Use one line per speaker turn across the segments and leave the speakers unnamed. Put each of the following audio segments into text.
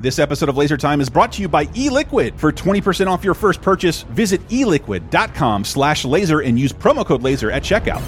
This episode of Laser Time is brought to you by eLiquid. For 20% off your first purchase, visit e eliquid.com slash laser and use promo code laser at checkout.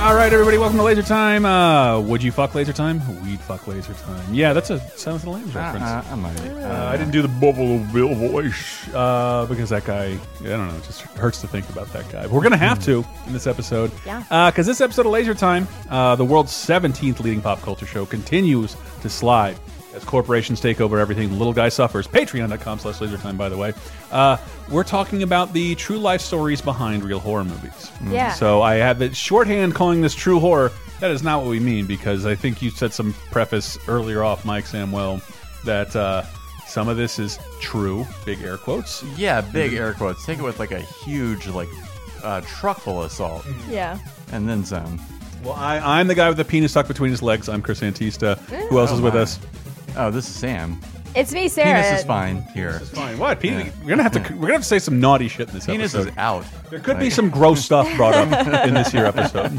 All right, everybody, welcome to Laser Time. Uh, would you fuck Laser Time? We'd fuck Laser Time. Yeah, that's a Silence of the Lambs reference.
Uh, I might.
Uh, I didn't do the bubble of Bill voice uh, because that guy, I don't know, it just hurts to think about that guy. But we're going to have to in this episode.
Yeah.
Because this episode of Laser Time, uh, the world's 17th leading pop culture show, continues to slide as corporations take over everything. The little guy suffers. Patreon.com slash lasertime, by the way. Uh, we're talking about the true life stories behind real horror movies.
Yeah.
So I have it shorthand calling this true horror. That is not what we mean because I think you said some preface earlier off, Mike Samwell, that uh, some of this is true, big air quotes.
Yeah, big air quotes. Take it with like a huge like uh, truck full of salt,
Yeah.
and then some.
Well, I, I'm the guy with the penis tucked between his legs. I'm Chris Antista. Who else is with
my.
us?
Oh, this is Sam.
It's me, Sarah.
Penis is fine here.
Fine. What? Penis, We're gonna have to. We're gonna have to say some naughty shit in this
Penis
episode.
is out.
There could be some gross stuff brought up in this here episode.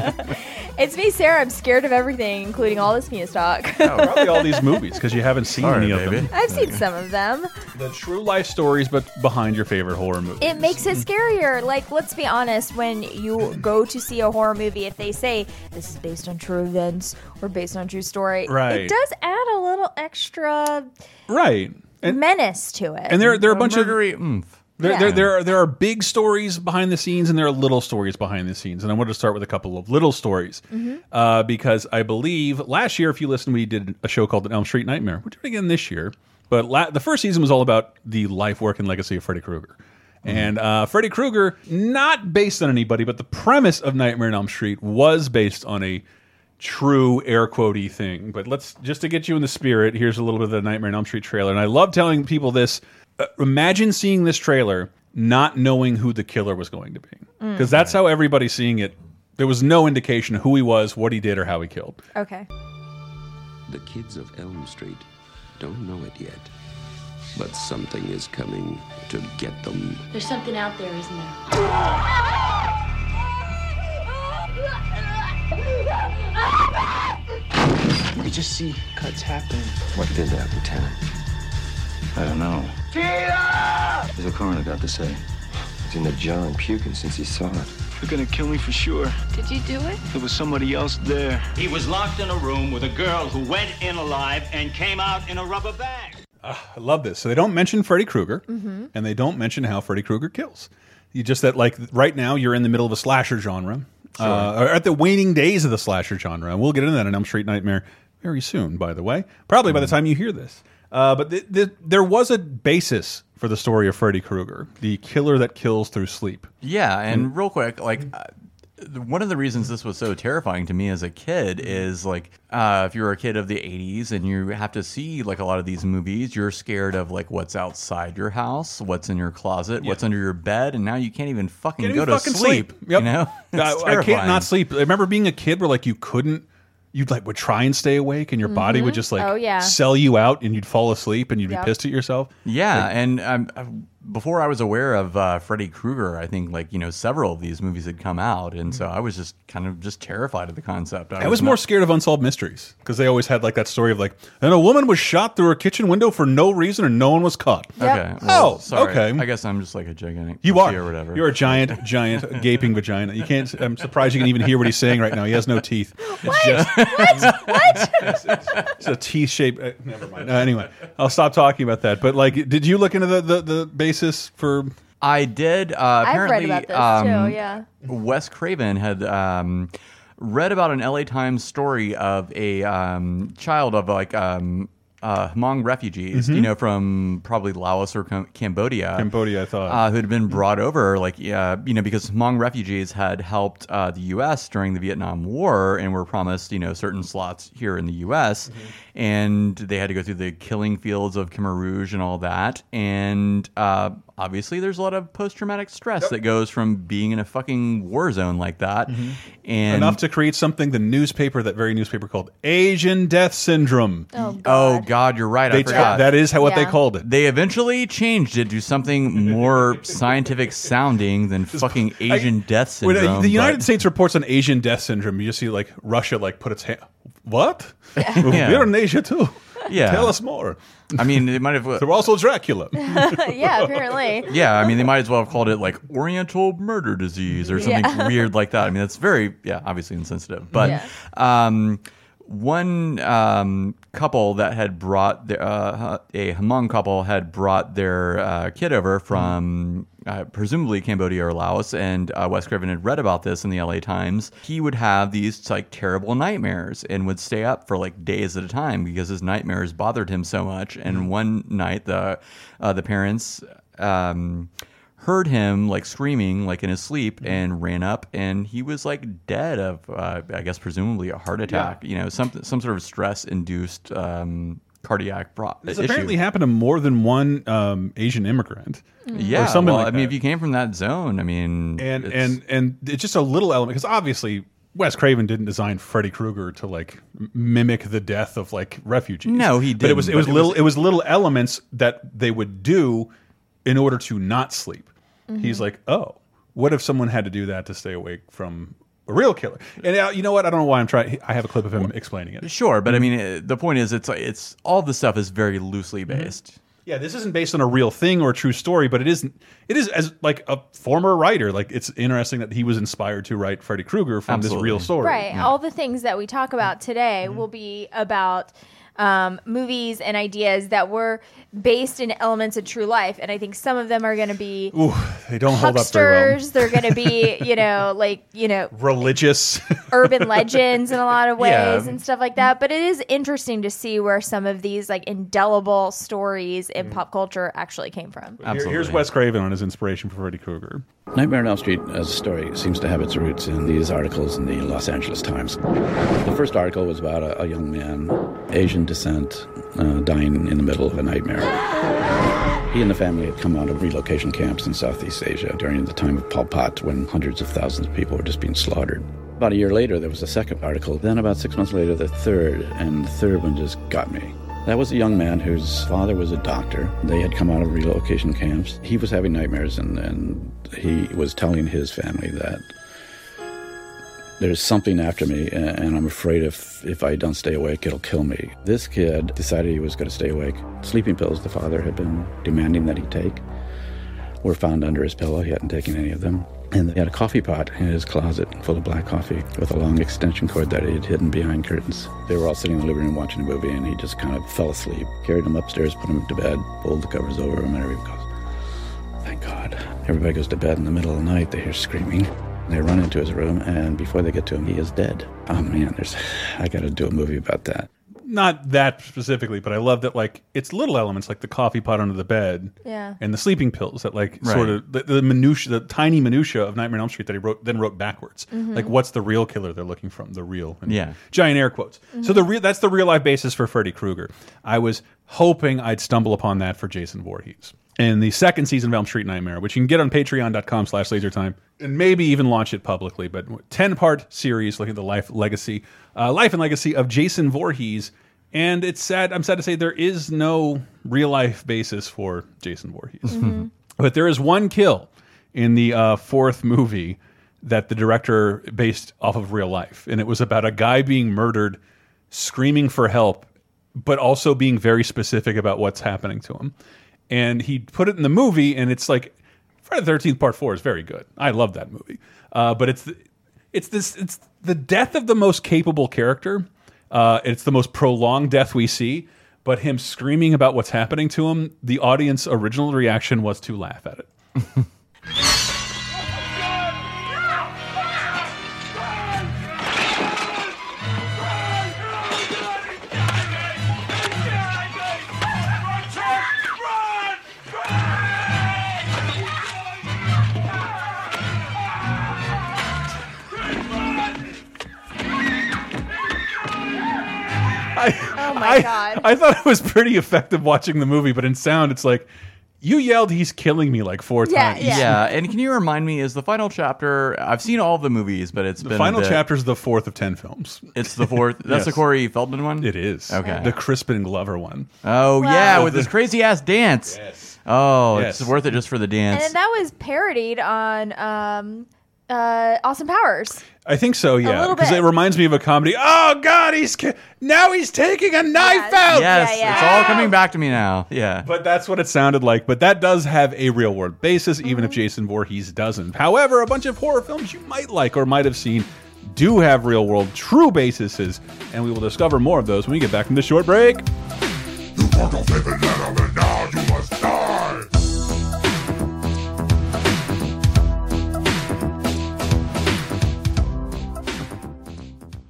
It's me, Sarah. I'm scared of everything, including all this penis talk.
Probably all these movies because you haven't seen
Oh. Sorry,
any of
baby.
I've seen some of them.
them. The true life stories, but behind your favorite horror movies.
It makes it scarier. Like, let's be honest, when you go to see a horror movie, if they say this is based on true events or based on true story,
Right.
it does add a little extra
right, and
menace to it.
and there there are a bunch of
Murdery. oomph.
There,
Yeah.
there, there, are, there are big stories behind the scenes and there are little stories behind the scenes. And I wanted to start with a couple of little stories
Mm-hmm.
Mm-hmm.
uh, because I believe last year, if you listen, we did a show called An Elm Street Nightmare. We're doing it again this year. But la the first season was all about the life, work, and legacy of Freddy Krueger. And uh, Freddy Krueger, not based on anybody, but the premise of Nightmare on Elm Street was based on a true air quotey thing. But let's just to get you in the spirit, here's a little bit of the Nightmare on Elm Street trailer. And I love telling people this. Uh, imagine seeing this trailer not knowing who the killer was going to be. Because that's how everybody's seeing it. There was no indication of who he was, what he did, or how he killed.
okay.
The kids of Elm Street don't know it yet, but something is coming to get them.
There's something out there, isn't there?
You just see cuts happen.
What did that, Lieutenant?
I don't know.
What has the coroner got to say? He's in the jar and puking since he saw it.
You're gonna kill me for sure.
Did you do it?
There was somebody else there.
He was locked in a room with a girl who went in alive and came out in a rubber bag.
Ah, I love this. So they don't mention Freddy Krueger, and they don't mention how Freddy Krueger kills. You just that like right now you're in the middle of a slasher genre, uh, or at the waning days of the slasher genre, and we'll get into that in Elm Street Nightmare very soon. By the way, probably
Mm-hmm.
by the time you hear this, uh, but th th there was a basis for the story of Freddy Krueger, the killer that kills through sleep.
Yeah, and
Mm-hmm.
real quick, like uh, th- one of the reasons this was so terrifying to me as a kid
Mm-hmm.
is like uh, if you're a kid of the 80s and you have to see like a lot of these movies, you're scared of like what's outside your house, what's in your closet, what's under your bed, and now you can't even fucking
Can't
go
even
to
fucking
sleep.
Yep.
You know, It's
I, I can't
terrifying.
not sleep. I remember being a kid where like you couldn't. You'd like would try and stay awake, and your body would just like
Oh, yeah.
sell you out, and you'd fall asleep, and you'd
Yep.
be pissed at yourself.
Yeah, and um, I- before I was aware of uh, Freddy Krueger, I think like you know several of these movies had come out, and so
Mm-hmm.
I was just kind of just terrified of the concept.
I was more scared of unsolved mysteries because they always had like that story of like, and a woman was shot through her kitchen window for no reason and no one was caught.
Okay.
Yep.
well,
Oh,
sorry.
okay.
I guess I'm just like a gigantic.
You
pussy
are.
or whatever.
You're a giant, giant gaping vagina. You can't. I'm surprised you can even hear what he's saying right now. He has no teeth. It's what? what? What? It's, it's a teeth shape. Uh, never mind. Uh, anyway, I'll stop talking about that. But like, did you look into the the, the basis for?
I did. Uh,
I've read
apparently,
about this
um,
too. Yeah.
Wes Craven had um, read about an LA Times story of a um, child of like um, uh, Hmong refugees,
Mm-hmm.
you know, from probably Laos or Cam- Cambodia.
Cambodia, I thought.
Uh, who had been brought over, like, uh, you know, because Hmong refugees had helped uh, the U.S. during the Vietnam War and were promised, you know, certain slots here in the U.S.
Mm-hmm.
And they had to go through the killing fields of Khmer Rouge and all that. And uh, obviously there's a lot of post traumatic stress that goes from being in a fucking war zone like that,
Mm-hmm.
and
Mm-hmm. Enough to create something the newspaper, that very newspaper called Asian Death Syndrome.
Oh god.
oh god, you're right. I
They
forgot.
that is how what they
Yeah.
called it.
they eventually changed it to something more scientific sounding than fucking Asian death
When, uh,
syndrome.
the United
but-
States reports on Asian death syndrome, you just see like Russia like put its hand. What? We're in Asia too.
Yeah.
Tell us more.
I mean, they might have
There were also Dracula.
yeah, apparently.
Yeah, I mean, they might as well have called it like Oriental murder disease or something weird like that. I mean, that's very, yeah, obviously insensitive. But
Yeah.
um, one um, couple that had brought their, uh, a Hmong couple had brought their uh, kid over from uh, presumably Cambodia or Laos, and uh, Wes Craven had read about this in the LA Times. He would have these like terrible nightmares and would stay up for like days at a time because his nightmares bothered him so much. And one night, the uh, the parents. Um, heard him like screaming like in his sleep
Mm-hmm.
and ran up and he was like dead of uh, i guess presumably a heart attack you know some some sort of stress induced um cardiac pro-
This
issue.
apparently happened to more than one um, Asian immigrant.
yeah
or something
well,
like
i mean
that.
if you came from that zone i mean
and
it's-
and and it's just a little element because obviously Wes Craven didn't design Freddy Krueger to like m- mimic the death of like refugees.
No, he
But it was
didn't,
it was
but it
little
was-
it was little elements that they would do in order to not sleep. He's like, oh, what if someone had to do that to stay awake from a real killer? And uh, you know what? I don't know why I'm trying. I have a clip of him explaining it. Mm-hmm.
sure but i mean uh the point is it's it's all the stuff is very loosely
Mm-hmm.
based
Yeah, this isn't based on a real thing or a true story, but it isn't. It is as like a former writer. Like it's interesting that he was inspired to write Freddy Krueger from this
Absolutely.
real story. Mm-hmm.
Right. All the things that we talk about today will be about um, movies and ideas that were based in elements of true life, and I think some of them are going to be
Ooh, they don't hold up very well.
hucksters. They're going to be, you know, like you know,
Religious.
urban legends in a lot of ways
Yeah.
and stuff like that. But it is interesting to see where some of these like indelible stories
Mm-hmm.
in pop culture actually came from.
Here-
absolutely
Here's Wes Craven on his inspiration for Freddy Krueger.
Nightmare on Elm Street as a story seems to have its roots in these articles in the Los Angeles Times. The first article was about a, a young man, Asian descent, uh, dying in the middle of a nightmare. He and the family had come out of relocation camps in Southeast Asia during the time of Pol Pot when hundreds of thousands of people were just being slaughtered. About a year later, there was a second article. Then, about six months later, the third, and the third one just got me. That was a young man whose father was a doctor. They had come out of relocation camps. He was having nightmares, and, and he was telling his family that there's something after me, a- and I'm afraid if, if I don't stay awake, it'll kill me. This kid decided he was going to stay awake. Sleeping pills the father had been demanding that he take were found under his pillow. He hadn't taken any of them. And he had a coffee pot in his closet full of black coffee with a long extension cord that he had hidden behind curtains. They were all sitting in the living room watching a movie, and he just kind of fell asleep. Carried him upstairs, put him to bed, pulled the covers over him, and everybody goes, Thank God. Everybody goes to bed in the middle of the night. They hear screaming. They run into his room, and before they get to him, he is dead. Oh man, there's, I got to do a movie about that.
Not that specifically, but I love that like it's little elements like the coffee pot under the bed,
Yeah.
and the sleeping pills that like
Right.
sort of the, the minutia, the tiny minutia of Nightmare on Elm Street that he wrote then wrote backwards.
Mm-hmm.
Like what's the real killer they're looking from? The real, and
Yeah.
giant air quotes. So
Mm-hmm.
the real that's the real life basis for Freddy Krueger. I was hoping I'd stumble upon that for Jason Voorhees in the second season of Elm Street Nightmare, which you can get on patreon.com slash lasertime and maybe even launch it publicly, but 10-part series looking at the life legacy, uh, life and legacy of Jason Voorhees. And it's sad, I'm sad to say there is no real life basis for Jason Voorhees. Mm-hmm. But there is one kill in the uh, fourth movie that the director based off of real life, and it was about a guy being murdered, screaming for help, but also being very specific about what's happening to him. And he put it in the movie, and it's like Friday the Thirteenth Part Four is very good. I love that movie, uh, but it's it's this it's the death of the most capable character. Uh, it's the most prolonged death we see, but him screaming about what's happening to him, the audience original reaction was to laugh at it. I,
Oh my
I,
God. Oh
I thought it was pretty effective watching the movie, but in sound, it's like You yelled, "He's killing me!" like four
Yeah,
times.
yeah.
Yeah, and can you remind me? Is the final chapter? I've seen all the movies, but it's
The
been
final
a bit-
chapter is the fourth of ten films.
It's the fourth. That's the
Yes.
Corey Feldman one.
It is
Okay.
The Crispin Glover one.
Oh yeah,
Wow.
with this crazy ass dance. Yes. Oh,
Yes.
it's worth it just for the
And
dance.
then that was parodied on um, uh, Austin Powers.
I think so. Yeah,
little
because
bit.
it reminds me of a comedy. Oh God, he's ki- now he's taking a knife
Oh, Yeah.
out.
yes,
Yeah, yeah.
it's all coming back to me now. Yeah.
But that's what it sounded like. But that does have a real world basis, even
Mm-hmm.
if Jason Voorhees doesn't. However, a bunch of horror films you might like or might have seen do have real world true bases, and we will discover more of those when we get back from this short break.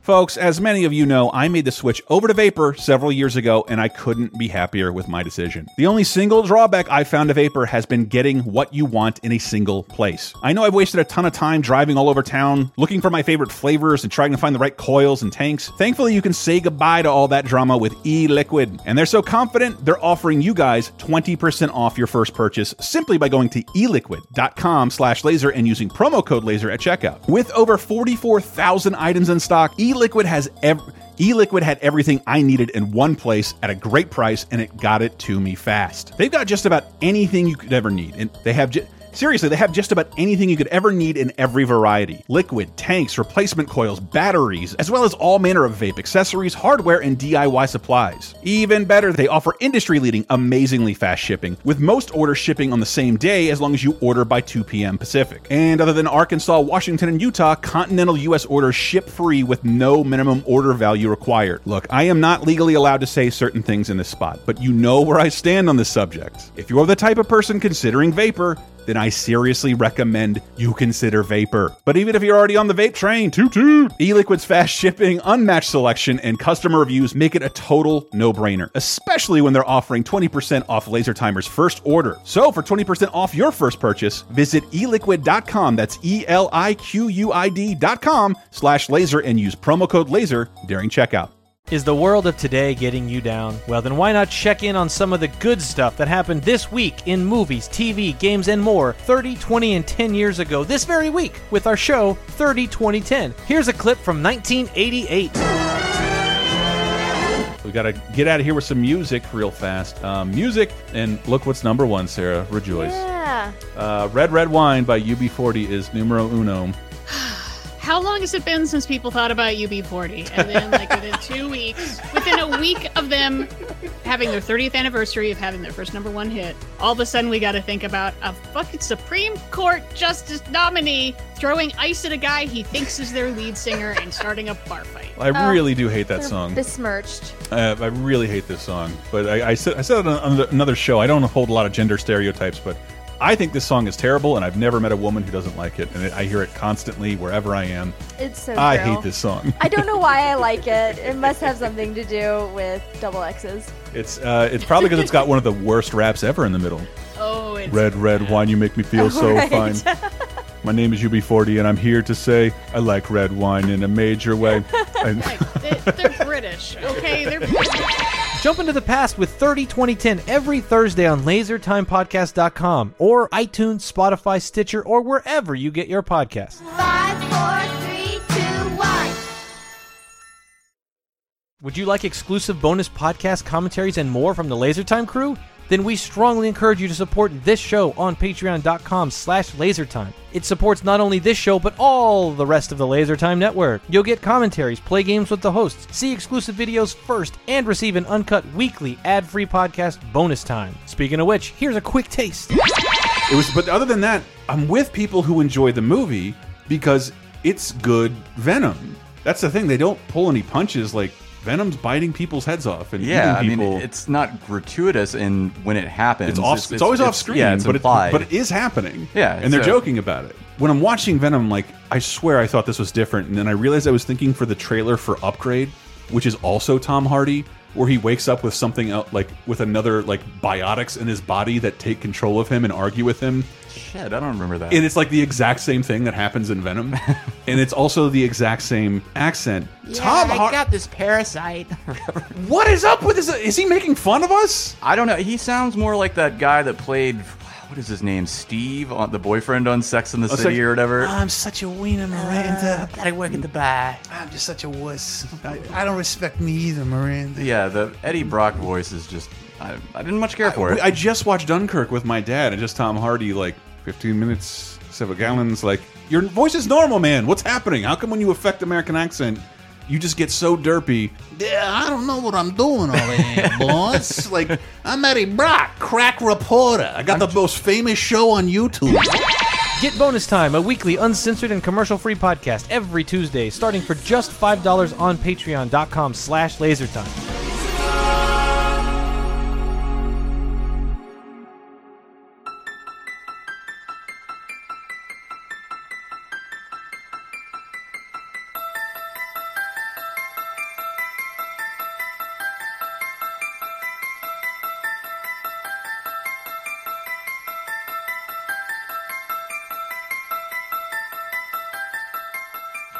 Folks, as many of you know, I made the switch over to Vapor several years ago, and I couldn't be happier with my decision. The only single drawback I found to Vapor has been getting what you want in a single place. I know I've wasted a ton of time driving all over town, looking for my favorite flavors and trying to find the right coils and tanks. Thankfully, you can say goodbye to all that drama with E Liquid, and they're so confident they're offering you guys 20% off your first purchase simply by going to eliquid.com slash laser and using promo code laser at checkout. With over 44,000 items in stock, eLiquid has ev eLiquid had everything I needed in one place at a great price and it got it to me fast. They've got just about anything you could ever need and they have ju- Seriously, they have just about anything you could ever need in every variety liquid, tanks, replacement coils, batteries, as well as all manner of vape accessories, hardware, and DIY supplies. Even better, they offer industry leading, amazingly fast shipping, with most orders shipping on the same day as long as you order by 2 p.m. Pacific. And other than Arkansas, Washington, and Utah, continental U.S. orders ship free with no minimum order value required. Look, I am not legally allowed to say certain things in this spot, but you know where I stand on this subject. If you're the type of person considering vapor, then I seriously recommend you consider Vapor. But even if you're already on the vape train, toot toot! E-Liquid's fast shipping, unmatched selection, and customer reviews make it a total no-brainer, especially when they're offering 20% off Laser Timer's first order. So for 20% off your first purchase, visit e eliquid.com, that's E E-L-I-Q-U-I-D.com slash laser and use promo code LASER during checkout.
Is the world of today getting you down? Well, then why not check in on some of the good stuff that happened this week in movies, TV, games, and more 30, 20, and 10 years ago this very week with our show 30, 20, 10. Here's a clip from 1988.
We gotta get out of here with some music real fast. Um, music, and look what's number one, Sarah. Rejoice.
Yeah.
Uh, Red Red Wine by UB40 is numero uno.
How long has it been since people thought about UB40? And then, like, within two weeks, within a week of them having their 30th anniversary of having their first number one hit, all of a sudden we got to think about a fucking Supreme Court Justice nominee throwing ice at a guy he thinks is their lead singer and starting a bar fight.
I
Oh.
really do hate that
They're
song.
Besmirched.
Uh, I really hate this song. But I, I said I said it on another- another show. I don't hold a lot of gender stereotypes, but I think this song is terrible, and I've never met a woman who doesn't like it. And it, I hear it constantly wherever I am.
It's so.
I
true.
hate this song.
I don't know why I like it. It must have something to do with double X's.
It's uh, it's probably because it's got one of the worst raps ever in the middle.
Oh, it's
Red, red wine, you make me feel so
Right.
fine. My name is UB40, and I'm here to say I like red wine in a major way. And-
like, they- they're British, okay? They're British.
Jump into the past with 30 2010 every Thursday on lasertimepodcast.com or iTunes, Spotify, Stitcher, or wherever you get your podcasts.
Five, four, three, two, one.
Would you like exclusive bonus podcast commentaries and more from the Lasertime crew? Then we strongly encourage you to support this show on patreon.com slash lasertime. It supports not only this show, but all the rest of the Lasertime network. You'll get commentaries, play games with the hosts, see exclusive videos first, and receive an uncut weekly ad-free podcast bonus time. Speaking of which, here's a quick taste.
It was, but other than that, I'm with people who enjoy the movie because it's good Venom. That's the thing; they don't pull any punches. Like Venom's biting people's heads off and
yeah, I
eating
mean,
people.
it's not gratuitous in when it happens.
it's off. It's, always off screen.
Yeah, it's
but
implied.
but it is happening.
Yeah,
and they're
so-
joking about it. When I'm watching Venom, I'm like I swear I thought this was different, and then I realized I was thinking for the trailer for Upgrade, which is also Tom Hardy. where he wakes up with something else, like with another like biotics in his body that take control of him and argue with him.
Shit, I don't remember that.
And it's like the exact same thing that happens in Venom, and it's also the exact same accent. Tom Har-
got this parasite.
what is up with this? Is he making fun of us?
I don't know. He sounds more like that guy that played what is his name, Steve, on the boyfriend on Sex in the
Oh,
City
Sex-
or whatever.
I'm such a wiener, Miranda.
Uh, I work in the bar.
I'm just such a wuss. I, I don't respect me either, Miranda.
yeah, the Eddie Brock voice is just. I, I didn't much care for it.
I just watched Dunkirk with my dad, and just Tom Hardy, like 15 minutes, seven gallons. Like your voice is normal, man. What's happening? How come when you affect American accent, you just get so derpy?
Yeah, I don't know what I'm doing all that, boss. Like, I'm Eddie Brock, Ah, crack reporter. I got the most famous show on YouTube.
Get Bonus Time, a weekly uncensored and commercial-free podcast every Tuesday, starting for just $5 on patreon.com slash lasertime.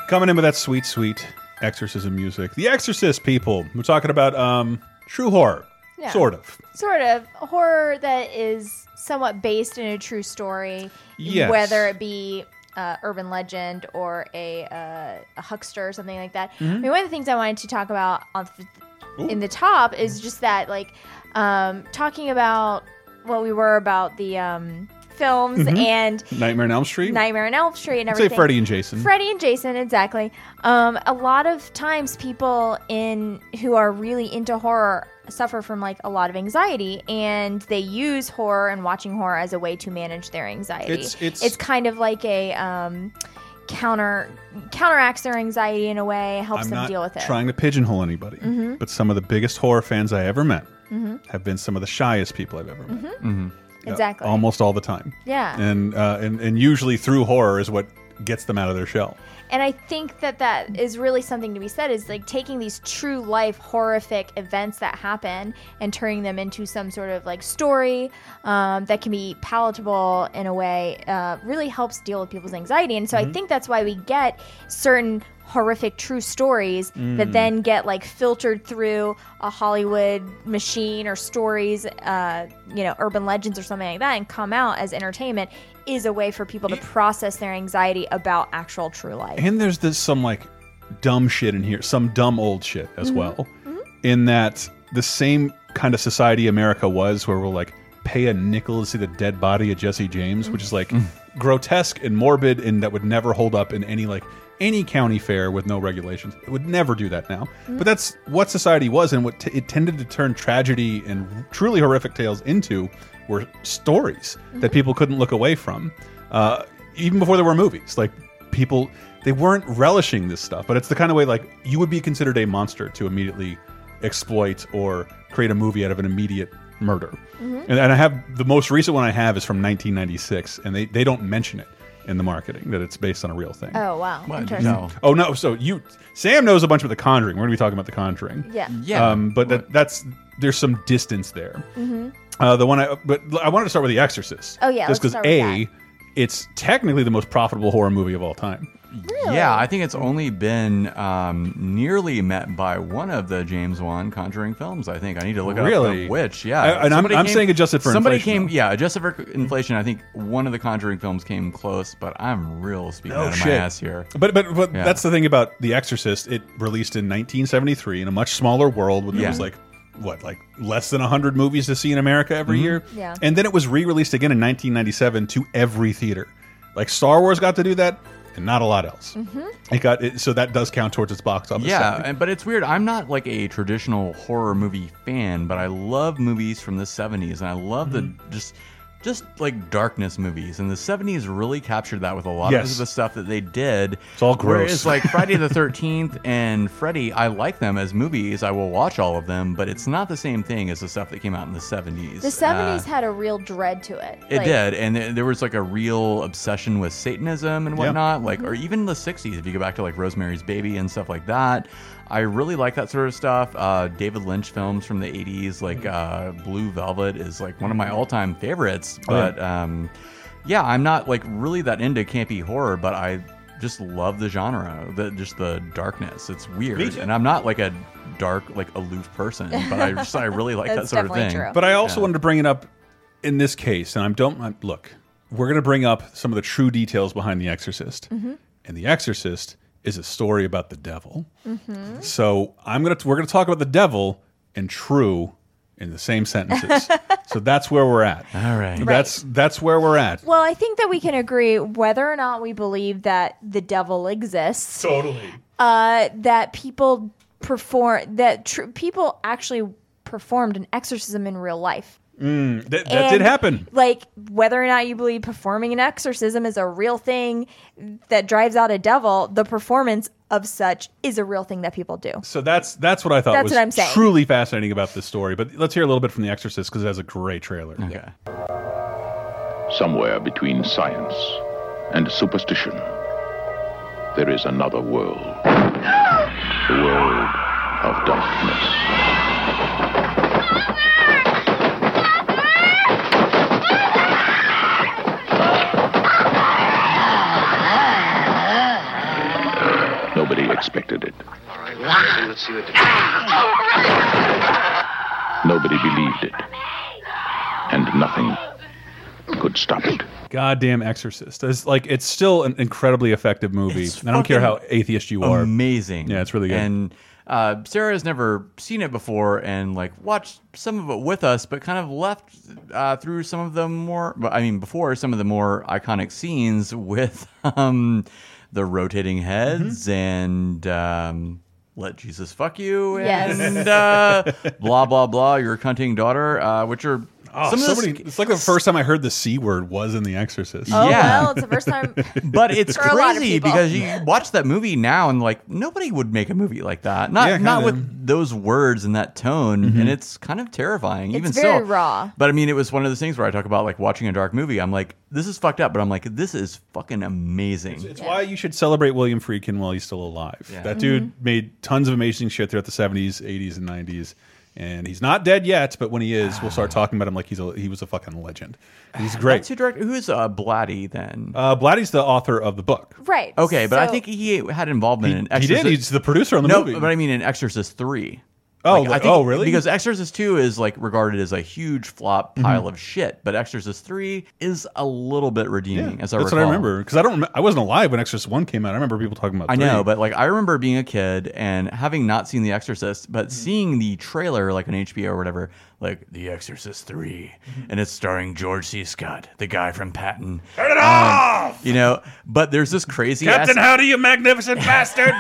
Coming in with that sweet, sweet exorcism music. The Exorcist people. We're talking about um, true horror,
Yeah.
sort of.
Sort of horror that is somewhat based in a true story,
Yes.
whether it be uh, urban legend or a, uh, a huckster or something like that.
Mm-hmm.
I
Mhm.
mean, one of the things I wanted to talk about on
Ooh.
in the top is just that, like, um, talking about what we were about the um, films
Mhm.
and
Nightmare on Elm Street.
Nightmare on Elm Street and
I'd say
everything.
Freddy and Jason.
Freddy and Jason, exactly. Um, a lot of times, people in who are really into horror suffer from like a lot of anxiety, and they use horror and watching horror as a way to manage their anxiety.
It's- it's-
kind of like a um, counter counteracts their anxiety in a way, helps
I'm
them
not
deal with it.
trying to pigeonhole anybody,
Mhm.
but some of the biggest horror fans I ever met
Mhm.
have been some of the shyest people I've ever met.
Mhm.
Mm-hmm.
Exactly.
almost all the time.
Yeah.
And, uh, and and usually through horror is what gets them out of their shell.
And I think that that is really something to be said is like taking these true life horrific events that happen and turning them into some sort of like story um, that can be palatable in a way uh, really helps deal with people's anxiety. And so I
Mhm.
think that's why we get certain horrific true stories that
Mm.
then get like filtered through a Hollywood machine or stories, uh, you know, urban legends or something like that and come out as entertainment is a way for people to process their anxiety about actual true life.
And there's this some like dumb shit in here, some dumb old shit as
Mhm.
well. In that the same kind of society America was, where we're like pay a nickel to see the dead body of Jesse James, which is like grotesque and morbid, and that would never hold up in any like any county fair with no regulations. It would never do that now.
Mhm.
Mm-hmm.
But that's what society was, and what t it tended to turn tragedy and truly horrific tales into were stories that
Mhm.
people couldn't look away from, uh, even before there were movies. Like people, they weren't relishing this stuff, but it's the kind of way like you would be considered a monster to immediately exploit or create a movie out of an immediate murder.
Mhm.
And, and I have the most recent one I have is from 1996, and they they don't mention it in the marketing that it's based on a real thing.
Oh wow! Interesting.
No. Oh no. So you, Sam knows a bunch about The Conjuring. We're going to be talking about The Conjuring.
Yeah.
Yeah.
Um, but that, that's there's some distance there.
Mhm.
Uh, the one I but I wanted to start with The Exorcist.
Oh, yeah,
Just because
let's start with
a, it's technically the most profitable horror movie of all time.
Yeah, I think it's only been um, nearly met by one of the James Wan Conjuring films. I think I need to look it
Really?
up which. Yeah,
I- and I'm-
Somebody
I'm saying adjusted for
somebody
inflation,
came. Yeah, adjusted for inflation. I think one of the Conjuring films came close, but I'm real speaking out of my ass here.
Oh, But but, but
Yeah.
that's the thing about The Exorcist. It released in 1973 in a much smaller world when there
Yeah.
was like what like less than 100 movies to see in America every
Mhm.
year.
Yeah.
And then it was re-released again in 1997 to every theater. Like Star Wars got to do that and not a lot else. It got it, so that does count towards its box office.
Yeah, and, but it's weird. I'm not like a traditional horror movie fan, but I love movies from the 70s, and I love
Mm-hmm.
the just just like darkness movies. And the 70s really captured that with a lot
Yes.
of the stuff that they did. It's
all gross.
Whereas like Friday the 13th and Freddy, I like them as movies. I will watch all of them, but it's not the same thing as the stuff that came out in the 70s.
The seventies
Uh,
had a real dread to it.
it
Like,
did, and th- there was like a real obsession with Satanism and
Yeah.
whatnot, like, or even the '60s. If you go back to like Rosemary's Baby and stuff like that, I really like that sort of stuff. Uh, David Lynch films from the 80s, like uh, Blue Velvet, is like one of my all time favorites.
Mm-hmm. Oh, yeah.
But um, yeah, I'm not like really that into campy horror, but I just love the genre, the, just the darkness. It's weird.
Me too.
And I'm not like a dark, like aloof person, but I just, I really like that
That's
sort of thing.
But I also wanted to bring it up in this case, and I'm don't I'm- look. We're going to bring up some of the true details behind The Exorcist,
Mm-hmm.
Mhm.
Mm-hmm.
and The Exorcist is a story about the devil.
Mm-hmm.
So I'm gonna we're gonna talk about the devil and true in the same sentences. so that's where we're at. All
right.
That's that's where we're at.
Well, I think that we can agree whether or not we believe that the devil exists.
Totally.
Uh, that people perform that tr- people actually performed an exorcism in real life.
Mm, that that did
And,
happen.
Like whether or not you believe performing an exorcism is a real thing that drives out a devil, the performance of such is a real thing that people do.
So that's that's what I thought
That's
was
what I'm saying.
truly fascinating about this story. But let's hear a little bit from The Exorcist because it has a great trailer.
Okay.
Somewhere between science and superstition, there is another world. The world of darkness. Nobody expected it.
Let's see what the-
Nobody believed it. And nothing could stop it.
Goddamn Exorcist. It's like it's still an incredibly effective movie. and I don't care how
fucking
atheist you are.
Amazing.
Yeah, it's really good.
And uh, Sarah's never seen it before and like watched some of it with us, but kind of left uh, through some of the more, but I mean, before some of the more iconic scenes with um, the rotating heads
Mm-hmm.
and. Um, let Jesus fuck you
Yes.
and uh, blah blah blah. Your cunting daughter, uh, which are
Oh,
some of the
somebody- it's like the first time I heard the C word was in The Exorcist.
Oh, Yeah. well,
It's the first time
but it's
For a lot of
crazy
people.
because you watch that movie now and like nobody would make a movie like that. Not
Yeah,
not
kinda. Mm-hmm.
with those words and that tone, and it's kind of terrifying.
It's
even
very
still,
raw.
But I mean, it was one of those things where I talk about like watching a dark movie. I'm like, this is fucked up, but I'm like, this is fucking amazing.
It's why you should celebrate William Friedkin while he's still alive.
Yeah.
That
Mm-hmm.
dude
Mm.
made tons of amazing shit throughout the 70s, 80s, and 90s. And he's not dead yet, but when he is, we'll start talking about him like he's a, he was a fucking legend. He's great.
That's who directed. Who's uh, Blatty then?
Uh, Blatty's the author of the book.
Right.
Okay, but I
so-
think he had involvement in
He
Exorcist.
did. He's the producer on the
no,
movie.
but I mean in Exorcist three.
Oh,
Like, I
li-
think-
oh, really? Mm-hmm.
Because Exorcist two is like regarded as a huge flop pile of shit, but Exorcist three is a little bit redeeming. as I
That's what
recall.
I remember because I don't. Rem I wasn't alive when Exorcist One came out. I remember people talking about.
I
three.
know, but like I remember being a kid and having not seen The Exorcist,
Mm-hmm.
but seeing the trailer like on HBO or whatever, like The Exorcist 3,
Mm-hmm.
and it's starring George C. Scott, the guy from Patton. Turn it off! You know, but there's this crazy ass-
you magnificent bastard?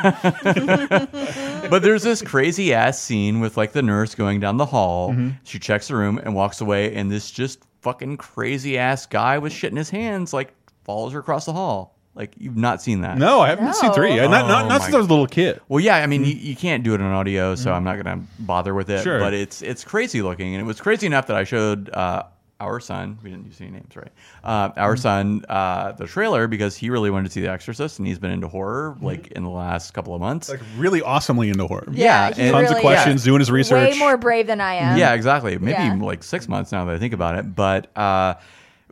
but there's this crazy ass scene with like the nurse going down the hall.
Mm-hmm.
She checks the room and walks away, and this just fucking crazy ass guy with shit in his hands like follows her across the hall. Like you've not seen that? Oh
No, I haven't seen No. three. Not- not- not since I was a little kid. Mm-hmm.
Well, yeah, I mean you, you can't do it on audio, so I'm not gonna bother with it.
Sure.
But it's it's crazy looking, and it was crazy enough that I showed. Uh, our son, we didn't use any names, right? Uh, our
Mm-hmm.
son, uh, the trailer, because he really wanted to see The Exorcist, and he's been into horror like in the last couple of months.
Mm-hmm. Like really awesomely into horror.
Yeah,
tons of questions, doing his research.
Way more brave than I am.
yeah, exactly. Maybe
Yeah.
like six months now that I think about it. But uh,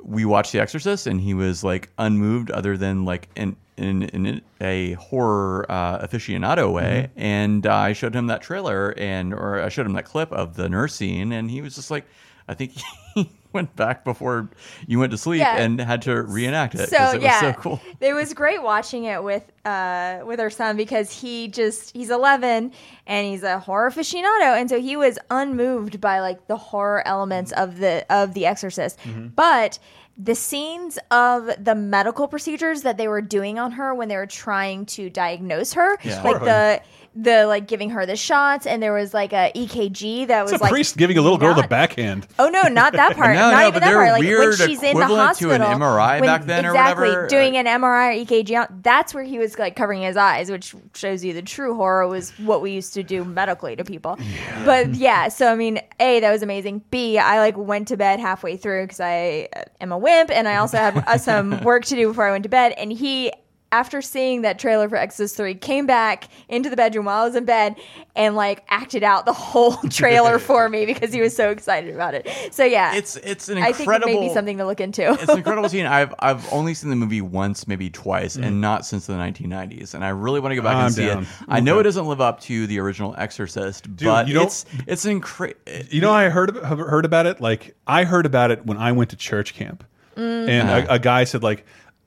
we watched The Exorcist, and he was like unmoved, other than like in in, in a horror uh, aficionado way. And uh, I showed him that trailer, and or I showed him that clip of the nurse scene, and he was just like, I think he went back before you went to sleep
Yeah.
and had to reenact it
So
because it
yeah,
was so cool.
it was great watching it with uh, with our son because he just he's 11 and he's a horror aficionado, and so he was unmoved by like the horror elements of the of The Exorcist,
Mm-hmm.
Mhm.
but. The scenes of the medical procedures that they were doing on her when they were trying to diagnose her,
Yeah.
like
Horrifying.
the the like giving her the shots, and there was like a EKG that
It's
was
a
like
priest giving a little girl the backhand.
Oh no, not that part.
No,
not
no,
even
but
that
they're
part. Like when
weird
she's in the
equivalent to
hospital,
an MRI
when-
back then or
exactly,
whatever.
doing an MRI or EKG. on- That's where he was like covering his eyes, which shows you the true horror was what we used to do medically to people. But yeah, so I mean, a that was amazing. B I like went to bed halfway through because I uh, am a wimp and I also had uh, some work to do before I went to bed, and he after seeing that trailer for Exodus 3, came back into the bedroom while I was in bed and like acted out the whole trailer for me because he was so excited about it. So yeah,
it's it's an
I think it may be
incredible-
something to look into.
it's an incredible scene. I've I've only seen the movie once, maybe twice,
Mhm.
and not since the 1990s. And I really want to go back
I'm
and see
Mm. down.
it. I know
Okay.
it doesn't live up to the original Exorcist,
Dude,
but
you don't-
it's it's an incredible.
You know, I heard have heard about it. Like I heard about it when I went to church camp,
Mm.
and
Uh-huh.
a, a guy said like,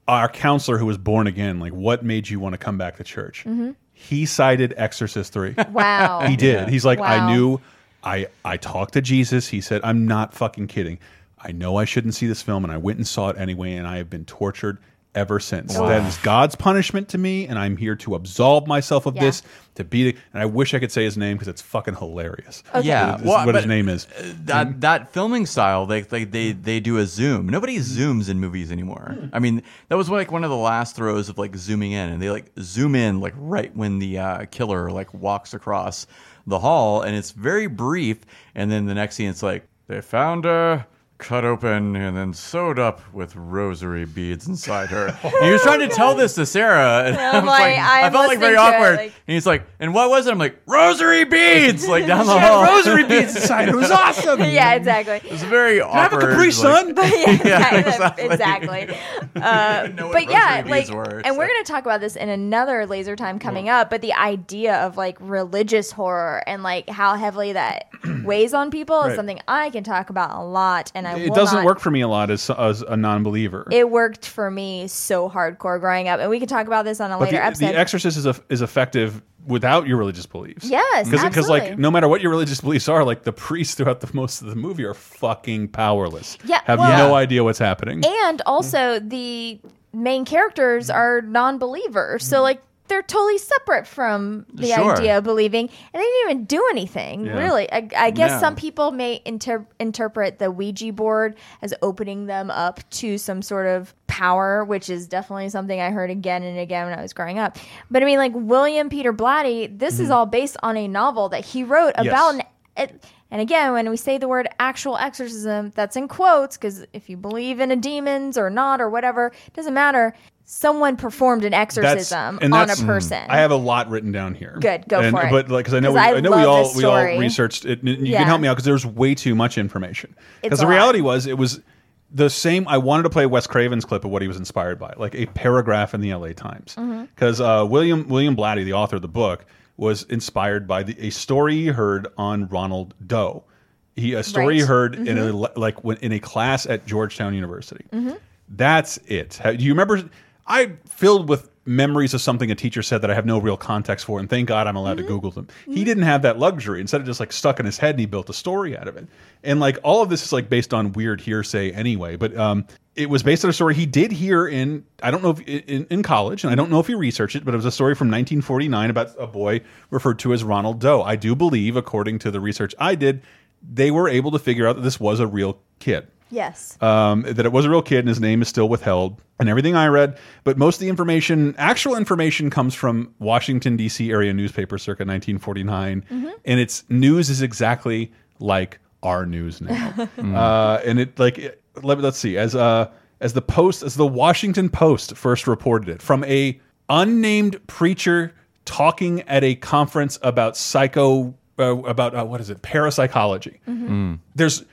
our counselor who was born again, like, what made you want to come back to church?
Mm-hmm.
Mhm.
He cited Exorcist three.
Wow.
he did.
Yeah.
He's like,
Wow.
I knew. I I talked to Jesus. He said, I'm not fucking kidding. I know I shouldn't see this film, and I went and saw it anyway, and I have been tortured ever since.
Wow.
That is God's punishment to me, and I'm here to absolve myself of
Yeah.
this. To beat it, and I wish I could say his name because it's fucking hilarious.
Yeah,
This is
well,
what his
but uh,
name is.
That that filming style, they they they, they do a zoom.
Hmm.
Nobody zooms in movies anymore. I mean, that was like one of the last throws of like zooming in, and they like zoom in like right when the uh, killer like walks across the hall, and it's very brief. And then the next scene, it's like they found her. Cut open and then sewed up with rosary beads inside her. And he was trying to tell this to Sarah, and
I'm
I was like,
like, I'm
I felt like very
listening to it,
awkward.
like-
and he's like, "And what was it?" I'm like, "Rosary beads!" Like down the
She had
hall,
rosary
beads inside. It was awesome.
yeah, exactly.
It's very
I have a
awkward.
Capri Sun?
But yeah,
Yeah,
exactly.
exactly.
exactly. Uh,
know what
but yeah,
rosary
like,
beads were,
and we're gonna talk about this in another laser time coming up. But the idea of like religious horror and like how heavily that weighs on people
Right.
is something I can talk about a lot, and I
it
will
doesn't
not-
work for me a lot as, as a non-believer.
It worked for me so hardcore growing up, and we can talk about this on a
but
later
the,
episode.
the Exorcist is a, is effective without your religious beliefs.
Yes,
because like
absolutely.
no matter what your religious beliefs are, like the priests throughout the most of the movie are fucking powerless.
Yeah,
have
well-
no idea what's happening. Mm-hmm.
and also the main characters are non-believers, so like they're totally separate from the
Sure.
idea of believing, and they didn't even do anything
Yeah.
really. I, I guess
No.
some people may inter- interpret the Ouija board as opening them up to some sort of power, which is definitely something I heard again and again when I was growing up. But I mean, like William Peter Blatty, this is
Mm-hmm.
Mhm.
all based on a novel that he wrote
Yes.
about an it, and again, when we say the word actual exorcism, that's in quotes because if you believe in a demons or not or whatever, it doesn't matter. Someone performed an
That's-
exorcism
and
on a
that's- Mm.
person.
I have a lot written down here.
Good, go
and,
for it.
But like, because I know,
'Cause
we,
I
I, know we
love
all
this
we all
story.
researched it. and You
Yeah.
can help me out because there's way too much information.
It's
Because the
a lot.
reality was, it was the same. I wanted to play Wes Craven's clip of what he was inspired by, like a paragraph in the L.A. Times.
Mm-hmm.
Mhm. because uh, William William Blatty, the author of the book, was inspired by the, a story he heard on Ronald Doe. He a story he
Right.
heard in a
Mm-hmm.
Mhm.
le- like when, in a class at Georgetown University.
Mhm.
That's it. How- Do you remember? I filled with memories of something a teacher said that I have no real context for, and thank God I'm allowed to Google them. He didn't have that luxury. Instead, it just like stuck in his head, and he built a story out of it. And like all of this is like based on weird hearsay anyway. But um, it was based on a story he did hear in I don't know if in, in college, and I don't know if he researched it, but it was a story from 1949 about a boy referred to as Ronald Doe. I do believe, according to the research I did, they were able to figure out that this was a real kid
yes.
um, that it was a real kid and his name is still withheld and everything i read but most of the information actual information comes from washington d.c area newspaper circa 1949
Mhm.
and its news is exactly like our news now uh, and it like it- let, us see as uh, as the post as the washington post first reported it from a unnamed preacher talking at a conference about psycho uh, about uh, what is it parapsychology
嗯 Mm-hmm.
there's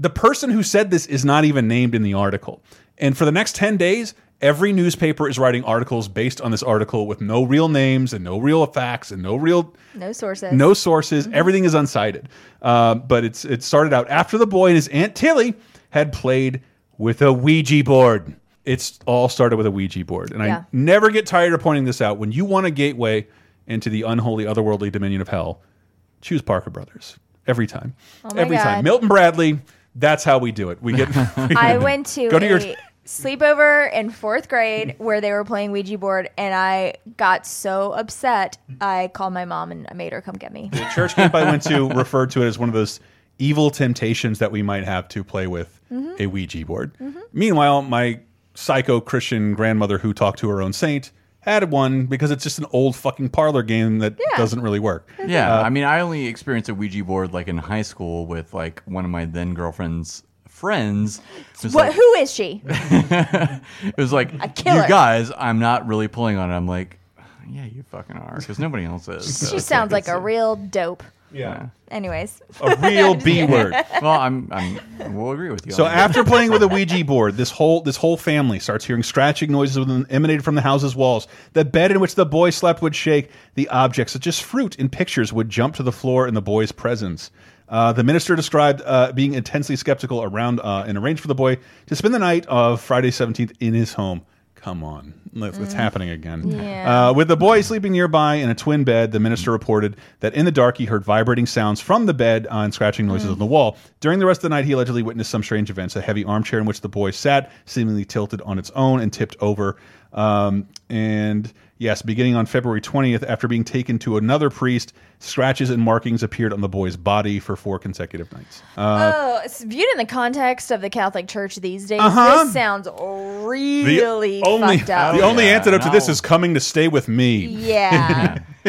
the person who said this is not even named in the article. And for the next 10 days, every newspaper is writing articles based on this article with no real names and no real facts and no real
No sources. Mm-hmm.
no sources. Everything is unsighted. Uh, but it's it started out after the boy and his aunt Tilly had played with a Ouija board. It's all started with a Ouija board, and
Yeah.
I never get tired of pointing this out. When you want a gateway into the unholy, otherworldly dominion of hell, choose Parker Brothers every time.
Oh my
every
God.
time, Milton Bradley. That's how we do it. We get.
I went to
go to your.
a sleepover in fourth grade where they were playing Ouija board, and I got so upset. I called my mom and I made her come get me.
The church camp I went to referred to it as one of those evil temptations that we might have to play with
Mhm.
a Ouija board. Meanwhile, my psycho Christian grandmother, who talked to her own saint, had one because it's just an old fucking parlor game that doesn't really work.
Yeah,
Uh,
I mean, I only experienced a Ouija board like in high school with like one of my then girlfriend's friends. It was,
What?
like,
Who is she?
it was like,
killer.
you guys, I'm not really pulling on it. I'm like, yeah, you fucking are, because nobody else is. so
She
it's
sounds like
it's-
a real dope.
Yeah.
Anyways.
Just kidding. well, I'm, I'm, we'll agree with you.
So
on that.
after playing with a Ouija board, this whole this whole family starts hearing scratching noises within, emanated from the house's walls. The bed in which the boy slept would shake. The objects, such as fruit and pictures, would jump to the floor in the boy's presence. Uh, the minister described uh, being intensely skeptical around uh, and arranged for the boy to spend the night of Friday 17th in his home. Come on, that's that's happening again.
Yeah.
Uh, with the boy sleeping nearby in a twin bed, the minister reported that in the dark he heard vibrating sounds from the bed uh, and scratching noises on the wall. During the rest of the night, he allegedly witnessed some strange events: a heavy armchair in which the boy sat, seemingly tilted on its own and tipped over. Um, and yes, beginning on February 20th, after being taken to another priest, scratches and markings appeared on the boy's body for four consecutive nights. Uh,
oh, it's viewed in the context of the Catholic Church these days,
Uh-huh.
this sounds really
only,
Oh, fucked up.
The only
Yeah.
antidote to this is coming to stay with me.
Yeah.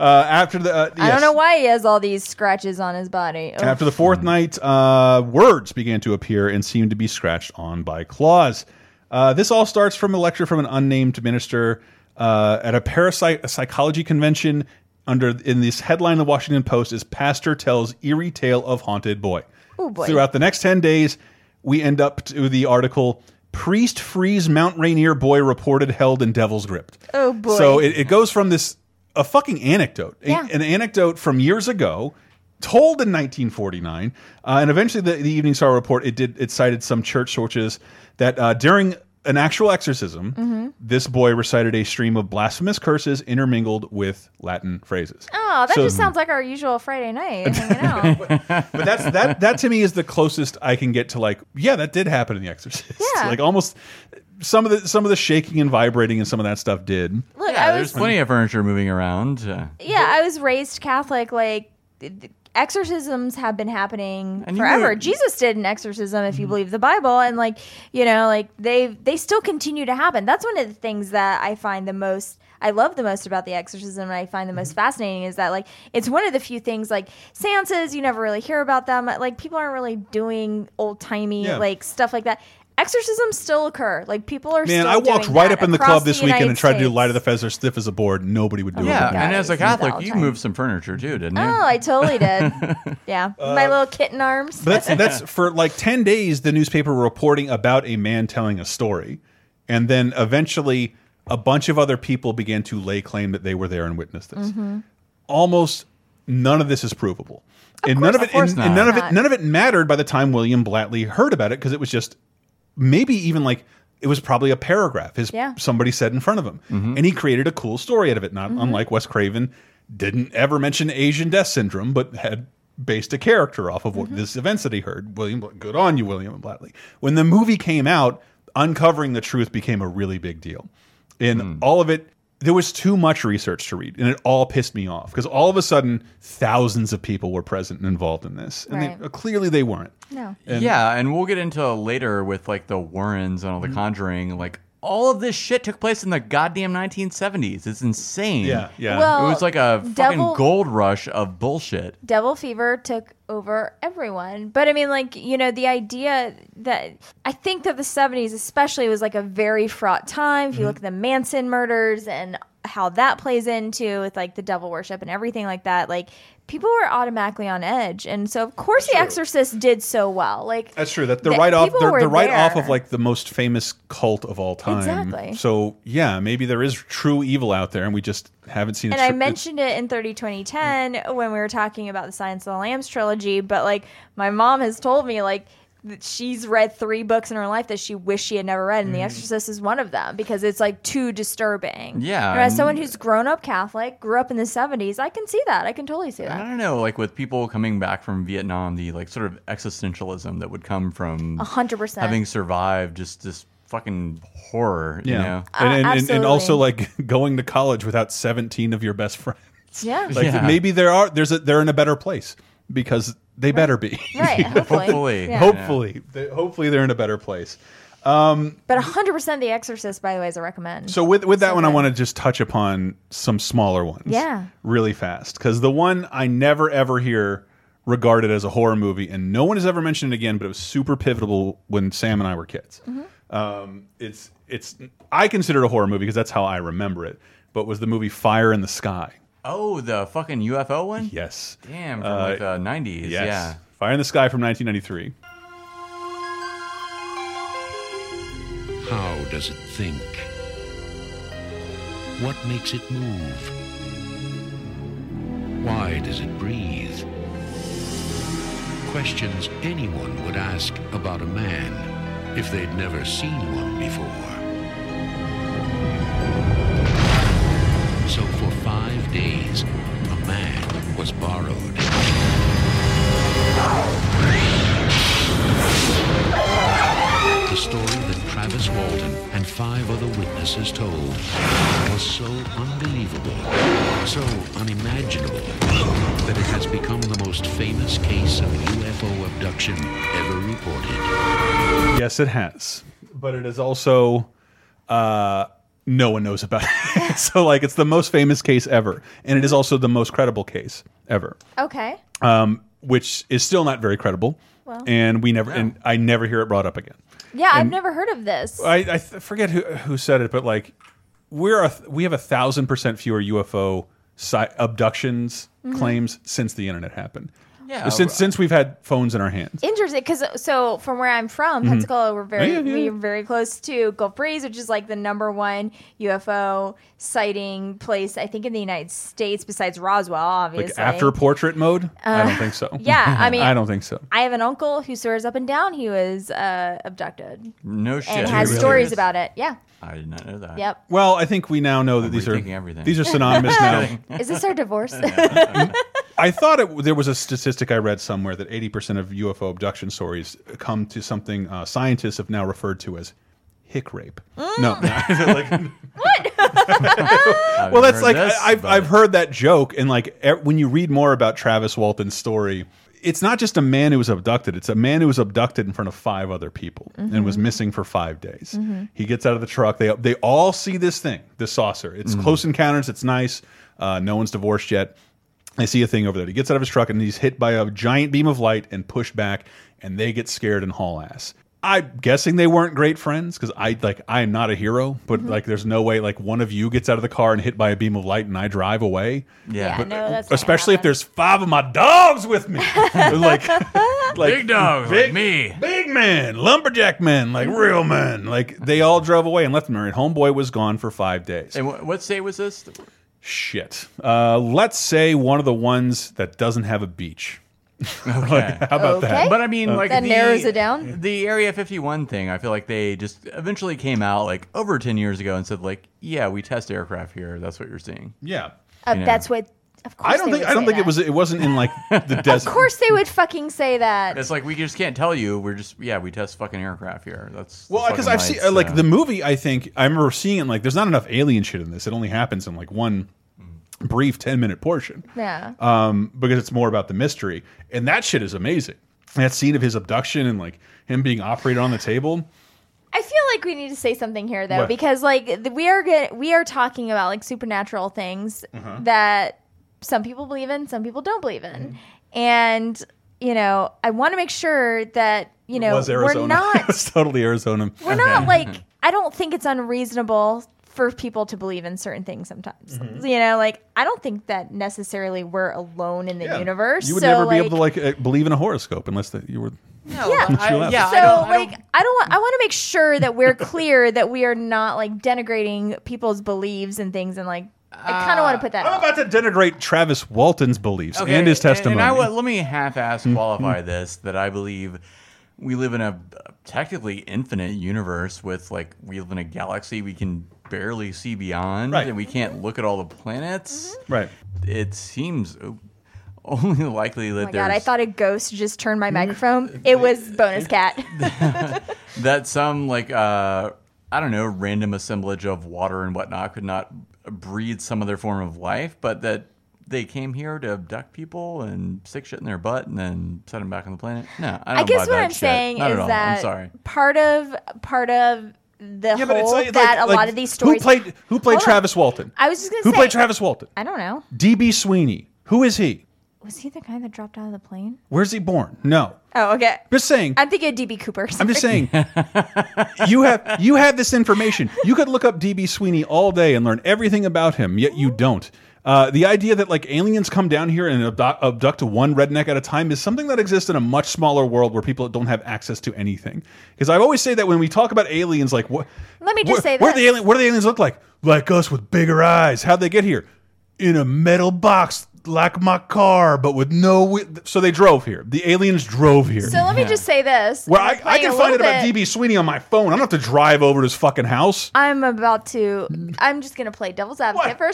uh, after the, uh,
I
yes.
don't know why he has all these scratches on his body. Ugh.
After the fourth night, uh, words began to appear and seemed to be scratched on by claws. Uh, this all starts from a lecture from an unnamed minister uh, at a parasite a psychology convention. Under in this headline, in the Washington Post is "Pastor tells eerie tale of haunted boy."
Ooh, boy.
Throughout the next ten days, we end up to the article "Priest frees Mount Rainier boy reported held in devil's grip."
Oh boy.
So it, it goes from this a fucking anecdote, a-
Yeah.
an anecdote from years ago, told in 1949, uh, and eventually the, the Evening Star report it did it cited some church sources that uh, during an actual exorcism,
Mhm.
this boy recited a stream of blasphemous curses intermingled with Latin phrases.
Oh, that
So-
just sounds like our usual Friday night. hanging out.
but that's that that to me is the closest I can get to like yeah that did happen in The Exorcist
Yeah.
like almost some of the some of the shaking and vibrating and some of that stuff did
Look, Yeah, I
there's
was-
plenty of furniture moving around. Uh,
Yeah, I was raised Catholic. Like, th- th- exorcisms have been happening
And you
forever.
know-
Jesus did an exorcism,
Mm-hmm.
if you believe the Bible, and like, you know, like they they still continue to happen. That's one of the things that I find the most. I love the most about the exorcism and I find the
Mm-hmm.
most fascinating is that like it's one of the few things like seances you never really hear about them like people aren't really doing old timey
Yeah.
like stuff like that exorcisms still occur like people are
Man,
still
I walked
doing
right
that
up in the
across
club this weekend
United
and tried to do
States.
light of the feather stiff as a board. Nobody would do it.
yeah,
with me.
and as a
all
Catholic,
the
you
time.
moved some furniture too, didn't you?
Oh, I totally did. Yeah, my little kitten arms.
Uh, But that's that's for like ten days. The newspaper were reporting about a man telling a story, and then eventually a bunch of other people began to lay claim that they were there and witnessed this. Almost none of this is provable. and none of it,
course
and, and
not.
none of it,
Not.
none of it mattered by the time William Blatley heard about it because it was just maybe even like it was probably a paragraph. His
Yeah.
somebody said in front of him, and he created a cool story out of it. Not
Mhm.
unlike Wes Craven, didn't ever mention Asian death syndrome, but had based a character off of what this events that he heard. William, Bla- good on you, William Blatley. When the movie came out, uncovering the truth became a really big deal, and all of it. There was too much research to read, and it all pissed me off because all of a sudden, thousands of people were present and involved in this, and they,
Right.
clearly they weren't.
No.
And-
yeah, and we'll get into later with like the Warrens and all the
Mm-hmm.
Conjuring. Like all of this shit took place in the goddamn 1970s. It's insane.
Yeah, yeah.
Well,
it was like a fucking
devil-
gold rush of bullshit.
Devil fever took over everyone. But I mean, like, you know, the idea that I think that the 70s, especially, was like a very fraught time. If you
Mhm.
look at the Manson murders and how that plays into with like the devil worship and everything like that, like, people were automatically on edge. And so, of course, The Exorcist did so well. Like,
That's true. That the
That
right off
people
the,
were
the right off
there.
of like the most famous cult of all time.
Exactly.
So yeah, maybe there is true evil out there, and we just haven't seen.
and
it
I mentioned it in 30 2010 when we were talking about the Science of the Lambs trilogy, but like my mom has told me like that she's read three books in her life that she wished she had never read, and The
Mm.
Exorcist is one of them because it's like too disturbing.
Yeah,
And as
and-
someone who's grown up Catholic, grew up in the 70s, I can see that. I can totally see
I
that.
don't know, like with people coming back from Vietnam, the like sort of existentialism that would come from
A hundred percent.
having survived just this fucking horror. You
yeah,
know?
and, and, and, and also like going to college without seventeen of your best friends.
Yeah.
Like
Yeah.
maybe there are there's a, they're in a better place because they better be.
Right, hopefully. Hopefully. Yeah.
Hopefully. They- hopefully they're in a better place. Um,
But 100% The Exorcist, by the way, is a recommend.
So with with that one, I
good.
want to just touch upon some smaller ones.
Yeah.
Really fast, because the one I never ever hear regarded as a horror movie, and no one has ever mentioned it again. But it was super pivotal when Sam and I were kids.
Mm-hmm.
Um, it's it's I consider it a horror movie because that's how I remember it. But was the movie Fire in the Sky?
Oh, the fucking UFO one?
Yes. Uh,
Damn, from like the 90s.
yes.
Yeah.
Fire in the Sky from 1993.
How does it think? What makes it move? Why does it breathe? Questions anyone would ask about a man if they'd never seen one before. So for five days, a man was borrowed. The story that Travis Walton and five other witnesses told was so unbelievable, so unimaginable, that it has become the most famous case of UFO abduction ever reported.
Yes, it has. But it is also uh, no one knows about it. so like it's the most famous case ever, and it is also the most credible case ever,
Okay.
um, which is still not very credible.
Well.
and we never and I never hear it brought up again.
Yeah, I've
And-
never heard of this.
I, I th- forget who who said it, but like we're a, we have a thousand percent fewer UFO si- abductions
Mhm.
claims since the internet happened.
Yeah.
since since we've had phones in our hands.
Interesting, because so from where I'm from,
Mhm.
Pensacola, we're very
Yeah, yeah, yeah.
we're very close to Gulf Breeze, which is like the number one UFO sighting place I think in the United States besides Roswell, obviously.
Like after portrait mode, I
Uh,
don't think so.
yeah, I mean-
I don't think so.
I have an uncle who swears up and down he was uh, abducted
Oh,
No shit.
and has stories about it. Yeah.
I did not know that.
Yep.
Well, I think we now know that these are these are synonymous now.
Is this our divorce?
I thought it, there was a statistic I read somewhere that 80% of UFO abduction stories come to something uh, scientists have now referred to as hick rape.
Mm.
No.
I've
well, that's
heard
like
this,
I, I've I've heard that joke, and like e- when you read more about Travis Walton's story, it's not just a man who was abducted; it's a man who was abducted in front of five other people and was
Mm-hmm.
Mhm.
missing for five days.
Mhm.
He gets out of the truck. They they all see this thing, this saucer. It's
Mhm.
close encounters. It's nice. Uh, no one's divorced yet. I see a thing over there. He gets out of his truck and he's hit by a giant beam of light and pushed back, and they get scared and haul ass. I'm guessing they weren't great friends because I like I am not a hero, but
Mhm.
like there's no way like one of you gets out of the car and hit by a beam of light and I drive away.
Yeah. Yeah, no, that's not
especially if there's five of my dogs with me, like like
Big dogs, like me.
big man, lumberjack man, like real man. Like they all drove away and left him. there, And homeboy was gone for five days.
And wh- what state was this?
Shit. Uh, let's say one of the ones that doesn't have a beach. Like, how about that?
But I mean,
Uh,
like
That
the,
narrows it down?
The Area 51 thing, I feel like they just eventually came out like over 10 years ago and said like, yeah, we test aircraft here. That's what you're seeing.
Yeah.
Uh, That's what. Of course.
I don't
they
think
would
I don't
say
think
that.
it was. It wasn't in like the
Of
desert.
course, they would fucking say that.
It's like we just can't tell you. We're just yeah, we test fucking aircraft here. That's
Well, because I've seen uh, like the movie. I think I remember seeing it. and, Like, there's not enough alien shit in this. It only happens in like one brief ten minute portion.
Yeah.
Um, because it's more about the mystery, and that shit is amazing. That scene of his abduction and like him being operated on the table.
I feel like we need to say something here though,
What?
because like th- we are good, we are talking about like supernatural things
Uh-huh.
that some people believe in, some people don't believe in, and you know, I want to make sure that you know
was Arizona.
we're not
it was totally Arizona.
we're not like I don't think it's unreasonable for people to believe in certain things sometimes.
Mhm.
You know, like I don't think that necessarily we're alone in the universe.
You would
so,
never
like,
be able to like uh, believe in a horoscope unless that you were.
yeah,
Teach you I- less. yeah, I
So
don't- I
like, I don't want. I want to make sure that we're clear that we are not like denigrating people's beliefs and things, and like, I kind of want to put that. oh
I'm
out.
about to denigrate Travis Walton's beliefs and his testimony. Mm-hmm.
And I would- let me half-ass qualify this that I believe we live in a technically infinite universe with like we live in a galaxy we can barely see beyond
Right.
and we can't look at all the planets.
Right.
It seems o- only likely that
Oh my
there's
god! I thought a ghost just turned my microphone. It was bonus cat.
that some like uh I don't know random assemblage of water and whatnot could not breed some other form of life, but that they came here to abduct people and stick shit in their butt and then set them back on the planet. No, I,
I,
don't buy
guess what
that
I'm
shit.
saying
Not at
is
all.
that
I'm sorry.
part of part of the
Yeah, but it's
whole
like-
that
like-
a lot
like,
of these stories
Who played Who played
Hold on.
Travis Walton?
I was just gonna
Who
say
played Travis Walton?
I don't know.
DB Sweeney. Who is he?
Was he the guy that dropped out of the plane?
Where's he born? No.
Oh, okay.
Just saying.
I'm thinking of DB Cooper.
I'm just saying, you have you have this information. You could look up DB Sweeney all day and learn everything about him, yet you don't. Uh, the idea that like aliens come down here and abduct, abduct one redneck at a time is something that exists in a much smaller world where people don't have access to anything. Because I always say that when we talk about aliens, like what?
Let me just
where,
say
where
this.
the alien? What do the aliens look like? Like us with bigger eyes. How'd they get here? In a metal box, like my car, but with no. wi- So they drove here. The aliens drove here.
So let me just say this.
Well,
I'm
I, I
playing
can
a
find it
little
about
bit-
DB Sweeney on my phone. I don't have to drive over to his fucking house.
I'm about to. I'm just going to play devil's advocate for a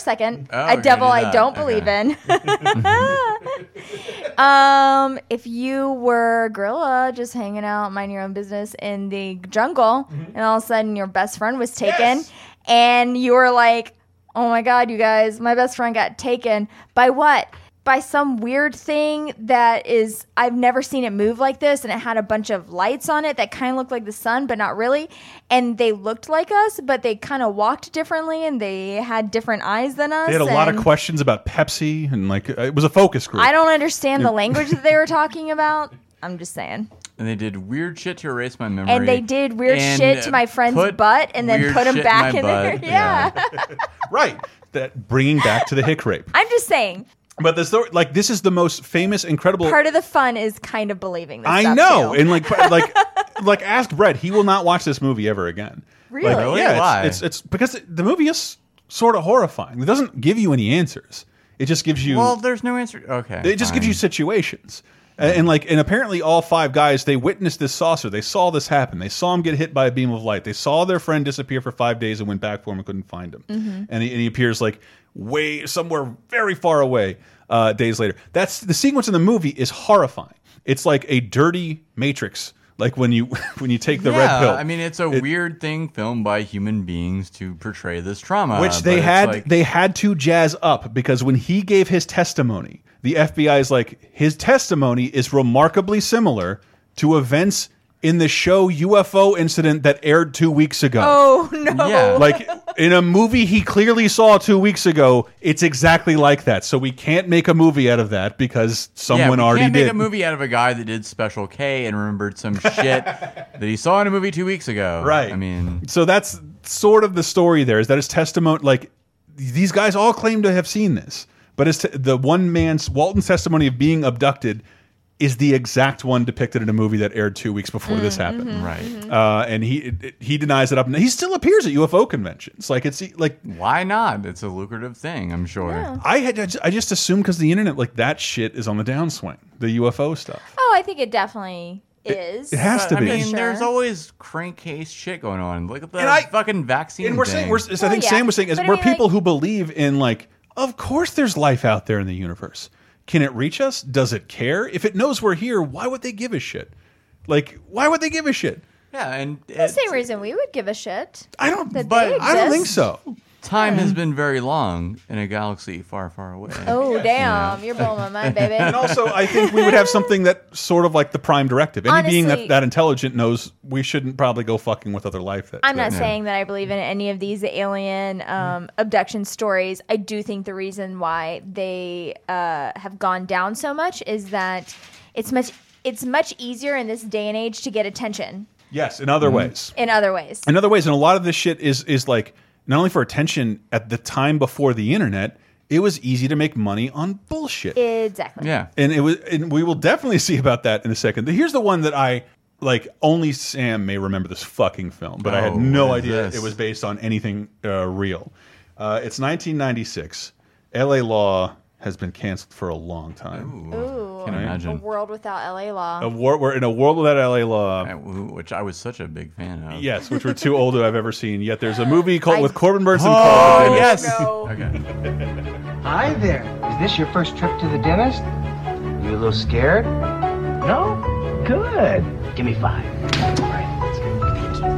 Mm.
second.
Oh,
a
okay,
devil
do
I
that.
don't believe in. um, if you were a gorilla just hanging out, mind your own business in the jungle,
Mm-hmm.
and all of a sudden your best friend was taken, and you were like, oh my God, you guys, my best friend got taken. By what? By some weird thing that is, I've never seen it move like this. And it had a bunch of lights on it that kind of looked like the sun, but not really. And they looked like us, but they kind of walked differently and they had different eyes than us.
They had a lot of
and-
questions about Pepsi and like uh, it was a focus group.
I don't understand the
Yeah.
language that they were talking about. I'm just saying.
And they did weird shit to erase my memory.
And they did weird
And,
shit to
uh,
my friend's
put
butt and then
weird
put him
shit
back
my
in there.
butt.
Yeah.
right. That bringing back to the hick rape.
I'm just saying.
But this like this is the most famous, incredible.
Part of the fun is kind of believing this.
I
stuff,
know,
too.
and like like like ask Brett. He will not watch this movie ever again. Like,
Really? Really?
yeah.
Why?
It's, it's it's because the movie is sort of horrifying. It doesn't give you any answers. It just gives you
well, there's no answer. Okay.
It just gives you situations. And, and like, and apparently, all five guys they witnessed this saucer. They saw this happen. They saw him get hit by a beam of light. They saw their friend disappear for five days and went back for him and couldn't find him.
Mhm.
And, he, and he appears like way somewhere very far away uh, days later. That's the sequence in the movie is horrifying. It's like a dirty Matrix, like when you when you take the red
Yeah,
pill.
I mean, it's a weird thing filmed by human beings to portray this trauma,
which
but
they
it's
had
like-
they had to jazz up because when he gave his testimony, the FBI is like his testimony is remarkably similar to events in the show UFO incident that aired 2 weeks ago.
Oh, no. Yeah.
Like in a movie he clearly saw 2 weeks ago, it's exactly like that. So we can't make a movie out of that because someone
yeah, we
already
can't
did.
Make a movie out of a guy that did Special K and remembered some shit that he saw in a movie two weeks ago. Right. I mean,
So that's sort of the story there is that his testimony, like these guys all claim to have seen this, but it's the one man's Walton's testimony of being abducted is the exact one depicted in a movie that aired two weeks before this happened.
Right.
Uh, and he, it- it- he denies it up and he still appears at UFO conventions. Like it's like,
why not? It's a lucrative thing, I'm sure.
I had, I ju- I just assumed because the internet, like that shit is on the downswing, the UFO stuff.
Oh, I think it definitely is.
it has to
I
be.
mean,
Sure.
there's always crankcase shit going on. Look at the
And I-
fucking vaccine.
and we're
thing.
saying we're, so I think Sam was saying is
Oh, But I
we're
mean,
people who believe in like of course there's life out there in the universe. Can it reach us? Does it care? If it knows we're here, why would they give a shit? Like why would they give a shit?
yeah, and
The same reason we would give a shit.
I don't.
That
but
they
I don't think
exist.
so.
Time
Hmm.
has been very long in a galaxy far, far away.
Oh
Yeah.
damn! You're blowing my mind, baby.
And also, I think we would have something that sort of like the prime directive. Any being
Honestly-
that, that intelligent knows we shouldn't probably go fucking with other life. That
I'm not saying that I believe in any of these alien um, abduction stories. I do think the reason why they uh, have gone down so much is that it's much it's much easier in this day and age to get attention
Yes, in other
Mhm.
ways.
in other ways.
in other ways and a lot of this shit is is like not only for attention at the time before the internet it was easy to make money on bullshit
Exactly.
and it was and we will definitely see about that in a second here's the one that i like only sam may remember this fucking film but i had
Oh,
no
what is
idea
this?
it was based on anything uh, real uh, it's 1996 la law has been canceled for a long time
Ooh,
Can't
a
imagine.
world without LA law.
a war, we're in a world without LA law,
which I was such a big fan of.
Yes, which we're too old to have ever seen. Yet there's a movie called with Corbin Burns and
Oh,
Paul. Rudd.
yes.
Hi there. Is this your first trip to the dentist? You a little scared? No? Good. Give me five.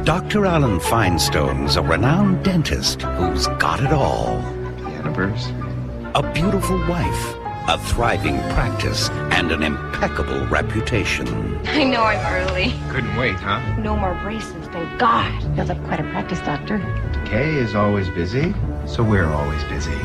Dr. Alan Feinstein's a renowned dentist who's got it all. The universe. A beautiful wife, a thriving practice, and an impeccable reputation.
I know I'm early.
Couldn't wait, huh?
No more braces, thank God. Feels like quite a practice, doctor.
Kay is always busy, so we're always busy.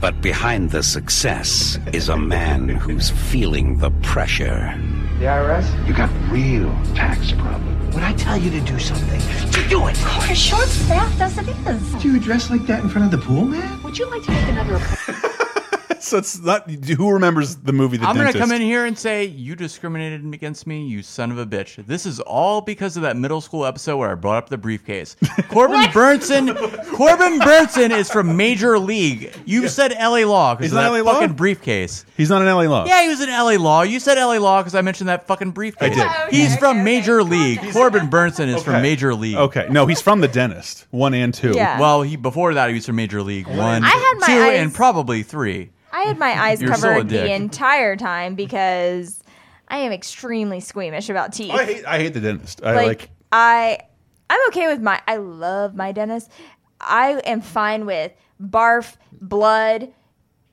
But behind the success is a man who's feeling the pressure.
The IRS? You got real tax problems. When I tell you to do something, to do it.
We're short staffed as it is.
Do you dress like that in front of the pool, man?
Would you like to make another appointment?
so it's not who remembers the movie. The
I'm going to
Dentist?
come in here and say, you discriminated against me, you son of a bitch. This is all because of that middle school episode where I brought up the briefcase. Corbin Burnson Corbin Burnson is from Major League. You said LA Law because
He's
of
not
that
LA Law?
fucking briefcase.
He's not an LA Law.
Yeah, he was in LA Law. You said LA Law because I mentioned that fucking briefcase.
I did. Oh,
He's from Major League. Corbin Burnson is from
Okay.
Major League.
Okay, no, he's from the dentist. One and two.
Yeah.
Well, he before that he was from Major League one,
I had my
two,
eyes-
and probably three.
I had my eyes
You're still a
covered the
dick.
entire time because I am extremely squeamish about teeth.
Oh, I hate I hate the dentist. I
like,
like,
I I'm okay with my I love my dentist. I am fine with barf, blood,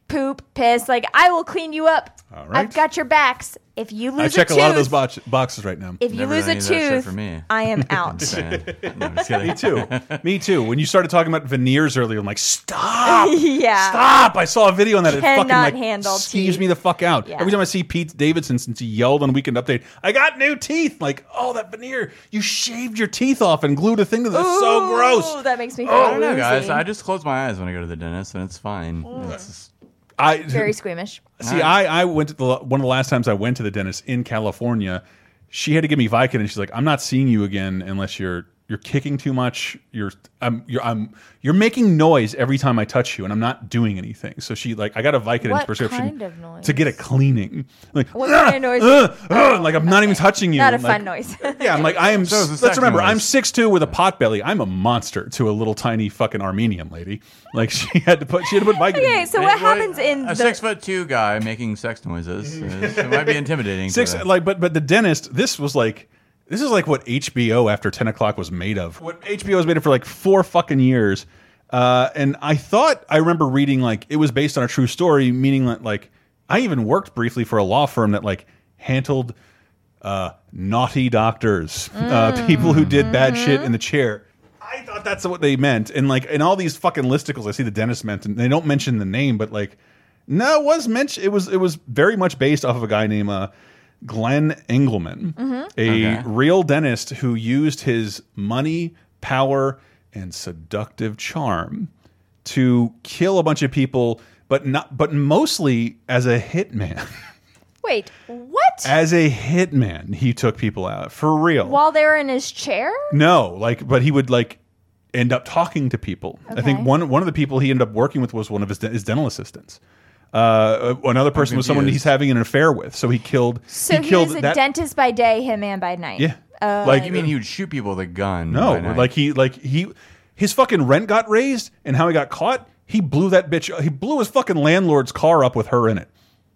poop, piss. Like I will clean you up.
All right.
I've got your backs. If you lose
I check
a
a,
tooth,
lot of those box, boxes right now.
if you
Never
lose
done
a
any of that shit
tooth,
for me.
I am out.
me too. Me too. When you started talking about veneers earlier, I'm like, stop.
yeah.
Stop! I saw a video on that. It fucking
Cannot
like
handle
skeeves
teeth.
me the fuck out.
Yeah.
Every time I see Pete Davidson since he yelled on Weekend Update, I got new teeth. Like, oh, that veneer! You shaved your teeth off and glued a thing to them. That's so
Ooh,
gross.
That makes me feel
Oh, I don't know, guys.
woozy.
I just close my eyes when I go to the dentist, and it's fine. It's just-
I
Mm. Very squeamish.
See, I, I went to the one of the last times I went to the dentist in California. She had to give me Vicodin, and she's like, "I'm not seeing you again unless you're you're kicking too much. You're I'm you're I'm you're making noise every time I touch you, and I'm not doing anything." So she like, I got a Vicodin
What
prescription
kind of noise?
to get a cleaning. Like
What kind of noise?
"Ugh, ugh," like I'm not even touching you.
Not a
I'm
fun
like,
noise.
Yeah, I'm like I am.
So is the
let's
second
remember,
noise.
I'm six two with a pot belly. I'm a monster to a little tiny fucking Armenian lady. Like she had to put she had to put Vicodin.
Okay, so what happens in
a
the
six foot two guy making sex noises? is- it might be intimidating. to
six
them.
like but but the dentist this was like this is like what hbo after 10 o'clock was made of what hbo was made of for like four fucking years uh, and i thought i remember reading like it was based on a true story meaning that like i even worked briefly for a law firm that like handled uh, naughty doctors uh, people who did bad shit in the chair I thought that's what they meant. And like in all these fucking listicles, I see the dentist meant, and they don't mention the name, but like, no, it was mentioned. It was it was very much based off of a guy named uh, Glenn Engelman,
Mhm.
a
Okay.
real dentist who used his money, power, and seductive charm to kill a bunch of people, but not, but mostly as a hitman.
wait, what?
as a hitman, he took people out for real.
While they were in his chair?
No, like, but he would like end up talking to people. I think
Okay.
one one of the people he ended up working with was one of his, de- his dental assistants. Uh, another person was someone he's
confused.
having an affair with, so he killed.
So
he
he,
killed
was a
that.
dentist by day, hitman by night.
Yeah.
Uh,
Like-
you mean he would shoot people with a gun?
no,
by night.
like he like he his fucking rent got raised, and how he got caught, he blew that bitch. He blew his fucking landlord's car up with her in it.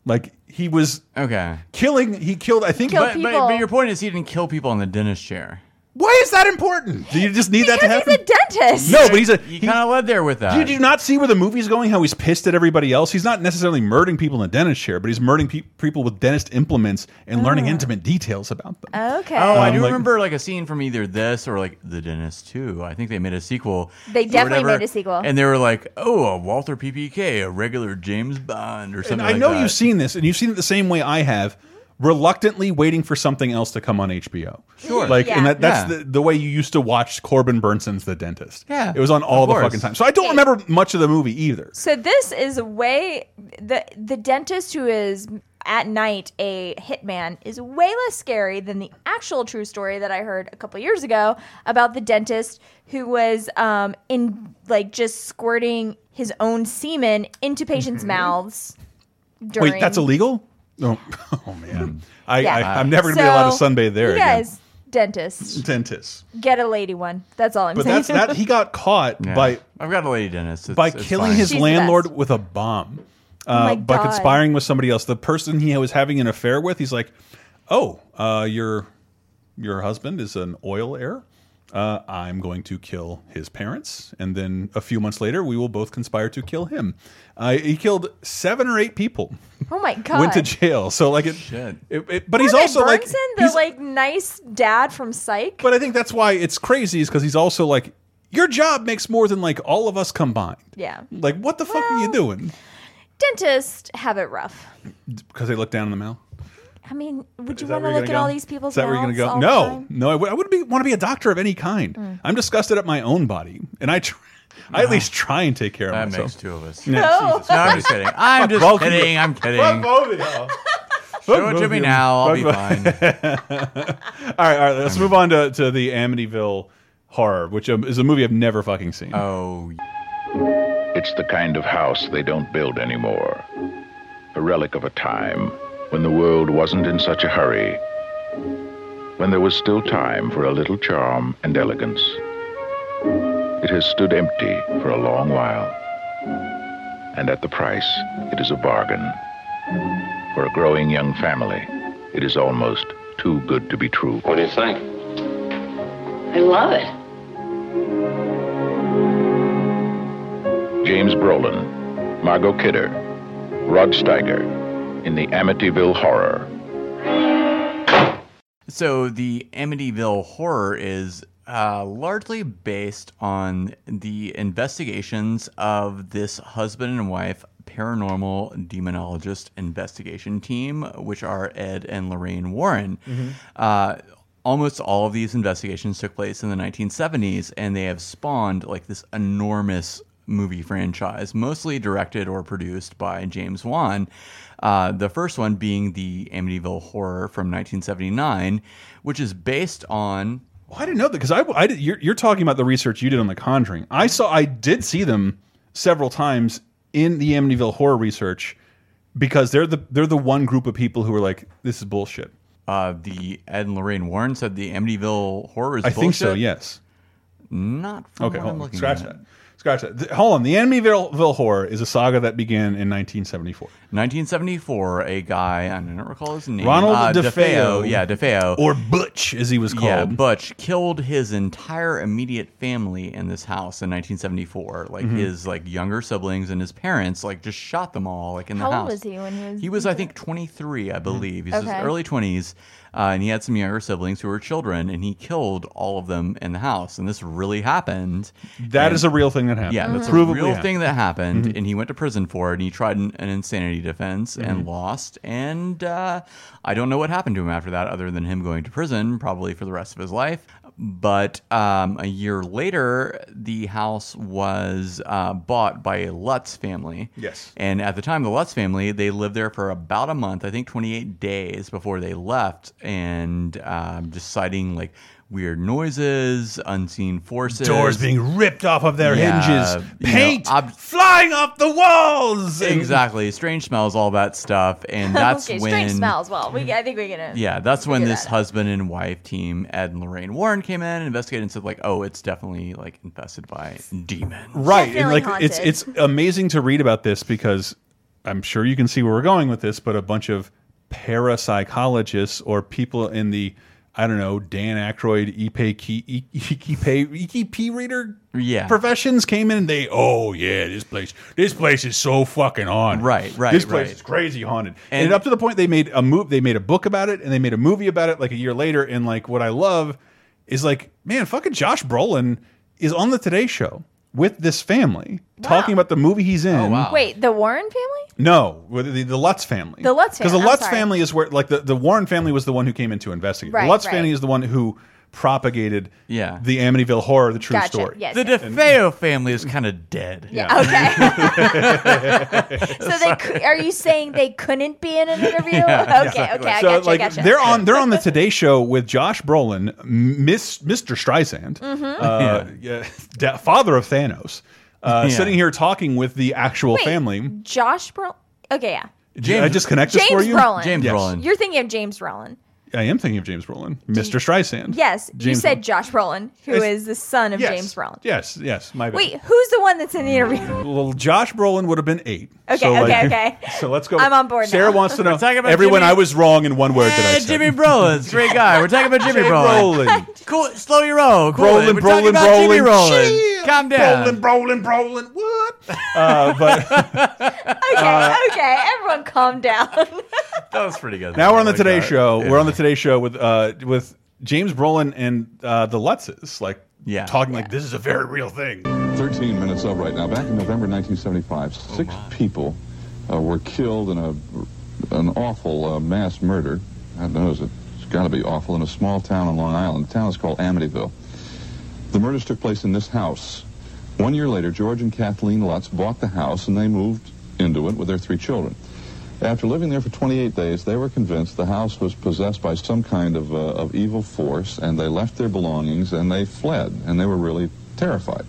Like he was
okay.
killing. He killed. I think.
But, but but your point is he didn't kill people in the dentist chair.
Why is that important? Do you just need that to
because
happen?
he's a dentist.
No, but he's a
You kind of led there with that.
Did you not see where the movie's going? How he's pissed at everybody else. He's not necessarily murdering people in the dentist chair, but he's murdering pe people with dentist implements and learning intimate details about them.
Ah. Okay.
Oh, I
Um,
do
like-
remember like a scene from either this or like The Dentist 2. I think they made a sequel.
They
or
definitely made a sequel.
And they were like, oh, a Walter PPK, a regular James Bond or something
And I
like
know
that.
you've seen this, and you've seen it the same way I have. Reluctantly waiting for something else to come on HBO.
Sure.
Like,
Yeah.
and that, that's
Yeah.
the, the way you used to watch Corbin Burnson's The Dentist.
Yeah.
It was on all
Of
the
course.
fucking time. So I don't remember much of the movie either.
So this is way the the dentist who is at night a hitman is way less scary than the actual true story that I heard a couple years ago about the dentist who was um, in like just squirting his own semen into patients' mouths. During
Mm-hmm. Wait, that's illegal? No. Oh, man. I,
Yeah.
I, I'm never going to be allowed to
So,
sunbathe there
You
again.
guys, dentist,
Dentist.
get a lady one. That's all I'm
But
saying.
that's that he got caught by
I've got a lady dentist. It's-
by
it's
killing
fine.
his
She's the Oh
landlord with a bomb, uh,
my
by
God.
conspiring with somebody else. The person he was having an affair with, he's like, "Oh, uh, your your husband is an oil heir. Uh, I'm going to kill his parents, and then a few months later, we will both conspire to kill him." Uh, he killed seven or eight people,
oh my god.
went to jail. So like it,
Shit.
it- it- but he's
Corbin
also like
Burnson, the like nice dad from Psych.
But I think that's why it's crazy is because he's also like, your job makes more than like all of us combined.
Yeah.
Like, what the fuck are you doing?
Dentists have it rough.
because they look down in the mouth.
I mean, would
Is
you
that
want to
where you're
look at
gonna
all
go?
these people's
Is that where you're
mouths?
gonna go?
all the
No,
time?
no, I would, I wouldn't be, want to be a doctor of any kind.
Mm.
I'm disgusted at my own body, and I, tr I at least try and take care of
That
myself.
makes two of us.
Yeah.
No.
Jesus
No, I'm
Christ.
just kidding. I'm
Fuck
just
both of you.
kidding. I'm kidding.
Fuck both of y'all.
Show
Fuck
it to
both
me
of you.
now. I'll be
Fuck
fine.
both- all right, all right. Let's move on to, to the Amityville horror, which um, is a movie I've never fucking seen.
Oh,
It's the kind of house they don't build anymore. A relic of a time when the world wasn't in such a hurry, when there was still time for a little charm and elegance. It has stood empty for a long while, and at the price, it is a bargain. For a growing young family, it is almost too good to be true. What do you think?
I love it.
James Brolin, Margot Kidder, Rod Steiger in the Amityville Horror.
So the Amityville horror is uh, largely based on the investigations of this husband and wife paranormal demonologist investigation team, which are Ed and Lorraine Warren.
Mhm.
Uh, almost all of these investigations took place in the 1970s, and they have spawned like this enormous movie franchise, mostly directed or produced by James Wan. Uh, the first one being the Amityville Horror from 1979, which is based on.
Well, I didn't know that because I, I did- you're, you're talking about the research you did on The Conjuring. I saw, I did see them several times in the Amityville horror research because they're the they're the one group of people who are like, this is bullshit.
Uh, the Ed and Lorraine Warren said the Amityville Horror is
I think so.
bullshit?
Yes.
Not from
okay.
what
Hold
I'm
on.
looking
Scratch
at.
that. Scratch that. The- hold on. The Amityville horror is a saga that began in 1974.
1974, a guy, I don't recall his name.
Ronald
uh,
DeFeo.
Yeah, DeFeo.
Or Butch, as he was called.
Yeah, Butch killed his entire immediate family in this house in 1974. Like
Mhm.
his like younger siblings and his parents, like just shot them all like in the
How
house.
old was he when he was?
He was, I think, 23, I believe. He's his
Okay.
early 20s, uh, and he had some younger siblings who were children, and he killed all of them in the house. And this really happened.
That
That is
is a real thing that happened. Mm-hmm.
Yeah, that's
Provably
a real
happened. Mm-hmm.
thing that happened, and he went to prison for it. And he tried an, an insanity defense
Mhm.
and lost. And uh, I don't know what happened to him after that, other than him going to prison, probably for the rest of his life. But um, a year later, the house was uh, bought by a Lutz family.
Yes.
And at the time, the Lutz family, they lived there for about a month, I think 28 days before they left, and um, just citing like weird noises, unseen forces,
Doors being ripped off of their
Yeah,
hinges,
you know,
paint
ob-
flying off the walls. and-
exactly, strange smells, all that stuff. And that's
okay,
when.
strange smells. Well,
Mm.
we I think we get it.
Yeah, that's when
Figure
this
that
husband and wife team, Ed and Lorraine Warren, came in and investigated and said, like, oh, it's definitely like infested by demons.
right and
Definitely
like
haunted.
it's it's amazing to read about this because i'm sure you can see where we're going with this but a bunch of parapsychologists or people in the i don't know dan Aykroyd, ipe Ki- I- ipe ipe reader
Yeah.
professions came in and they oh yeah this place this place is so fucking haunted
Right, right,
this place
right.
is crazy haunted and,
And-
up to the point they made a move they made a book about it and they made a movie about it like a year later and like what i love is like man fucking josh brolin is on the today show with this family talking about the movie he's
Oh,
in
Wait, the Warren family?
no with the, the lutz family
The Lutz
because the
fam- I'm
lutz
sorry.
family is where like the, the warren family was the one who came in to investigate
Right,
the lutz
right.
family is the one who propagated
yeah.
the amityville horror the true
Gotcha,
story
yes,
The
yes.
DeFeo family is kind of dead.
Okay. so they cou- are you saying they couldn't be in an interview?
Yeah,
okay,
exactly.
okay, I
so
gotcha,
like
gotcha.
they're on they're on the Today Show with Josh Brolin, Miss Mr. Streisand,
Mhm.
uh, yeah, da- father of Thanos, uh,
Yeah.
sitting here talking with the actual
Wait,
family.
Josh Brolin. Okay, yeah.
Did I just connect this
James
for you?
Brolin.
Yes.
You're thinking of James Brolin.
I am thinking of James Brolin, Mr. Streisand.
Yes, you
James
said Josh Brolin, who is
It's-
the son of
Yes.
James Brolin.
Yes, yes, my bad.
Wait, who's the one that's in the interview?
Well, Josh Brolin would have been eight.
Okay,
So, like,
okay, okay.
So let's go.
I'm on board
Sarah
now.
wants to know.
talking about
Everyone,
Jimmy-
I was wrong in one word that I
Hey,
said.
Jimmy Brolin's a great guy. We're talking about Jimmy
Jay
Brolin.
Brolin.
Cool, slow your roll. Cool.
Brolin,
We're talking
Brolin,
about Jimmy
Brolin.
Brolin. Calm down.
Brolin, Brolin, Brolin. What? Uh, but
Okay,
Uh,
okay, everyone calm down.
That was pretty good. Oh
now we're on the
Like
Today
that.
Show.
Yeah.
We're on the Today Show with uh, with James Brolin and uh, the Lutzes, like
Yeah.
talking like this is a very real thing.
13 minutes of right now. Back in November 1975, six people uh, were killed in a an awful uh, mass murder. God knows it. it's got to be awful in a small town on Long Island. The town is called Amityville. The murders took place in this house. One year later, George and Kathleen Lutz bought the house and they moved into it with their three children. After living there for 28 days, they were convinced the house was possessed by some kind of, uh, of evil force, and they left their belongings and they fled, and they were really terrified.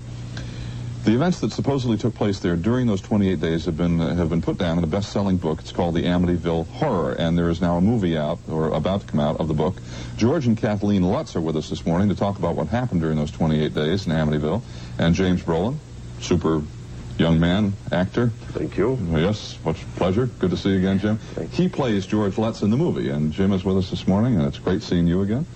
The events that supposedly took place there during those 28 days have been uh, have been put down in a best-selling book. It's called The Amityville Horror, and there is now a movie out or about to come out of the book. George and Kathleen Lutz are with us this morning to talk about what happened during those 28 days in Amityville, and James Brolin, super young man, actor. Thank you. Yes, much pleasure. Good to see you again, Jim. He plays George Lutz in the movie, and Jim is with us this morning, and it's great seeing you again.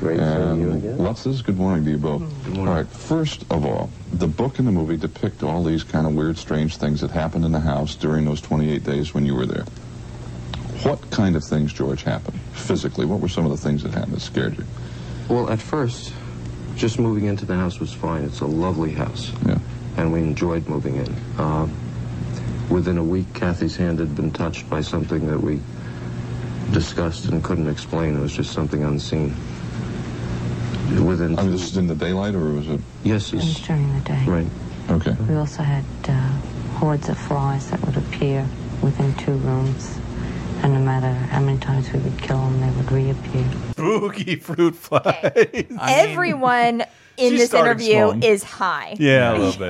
Great seeing you again. Lutzes, good morning to you both. Good morning. All right, first of all, the book and the movie depict all these kind of weird, strange things that happened in the house during those 28 days when you were there. What kind of things, George, happened physically? What were some of the things that happened that scared you?
Well, at first, just moving into the house was fine. It's a lovely house. Yeah. And we enjoyed moving in. Uh, within a week, Kathy's hand had been touched by something that we discussed and couldn't explain. It was just something unseen. Within.
I mean, this is in the daylight, or was it?
Yes,
It was
it's.
during the day.
Right. Okay.
We also had uh, hordes of flies that would appear within two rooms, and no matter how many times we would kill them, they would reappear.
Spooky fruit flies.
Everyone in
She
this
started
interview
small.
is high.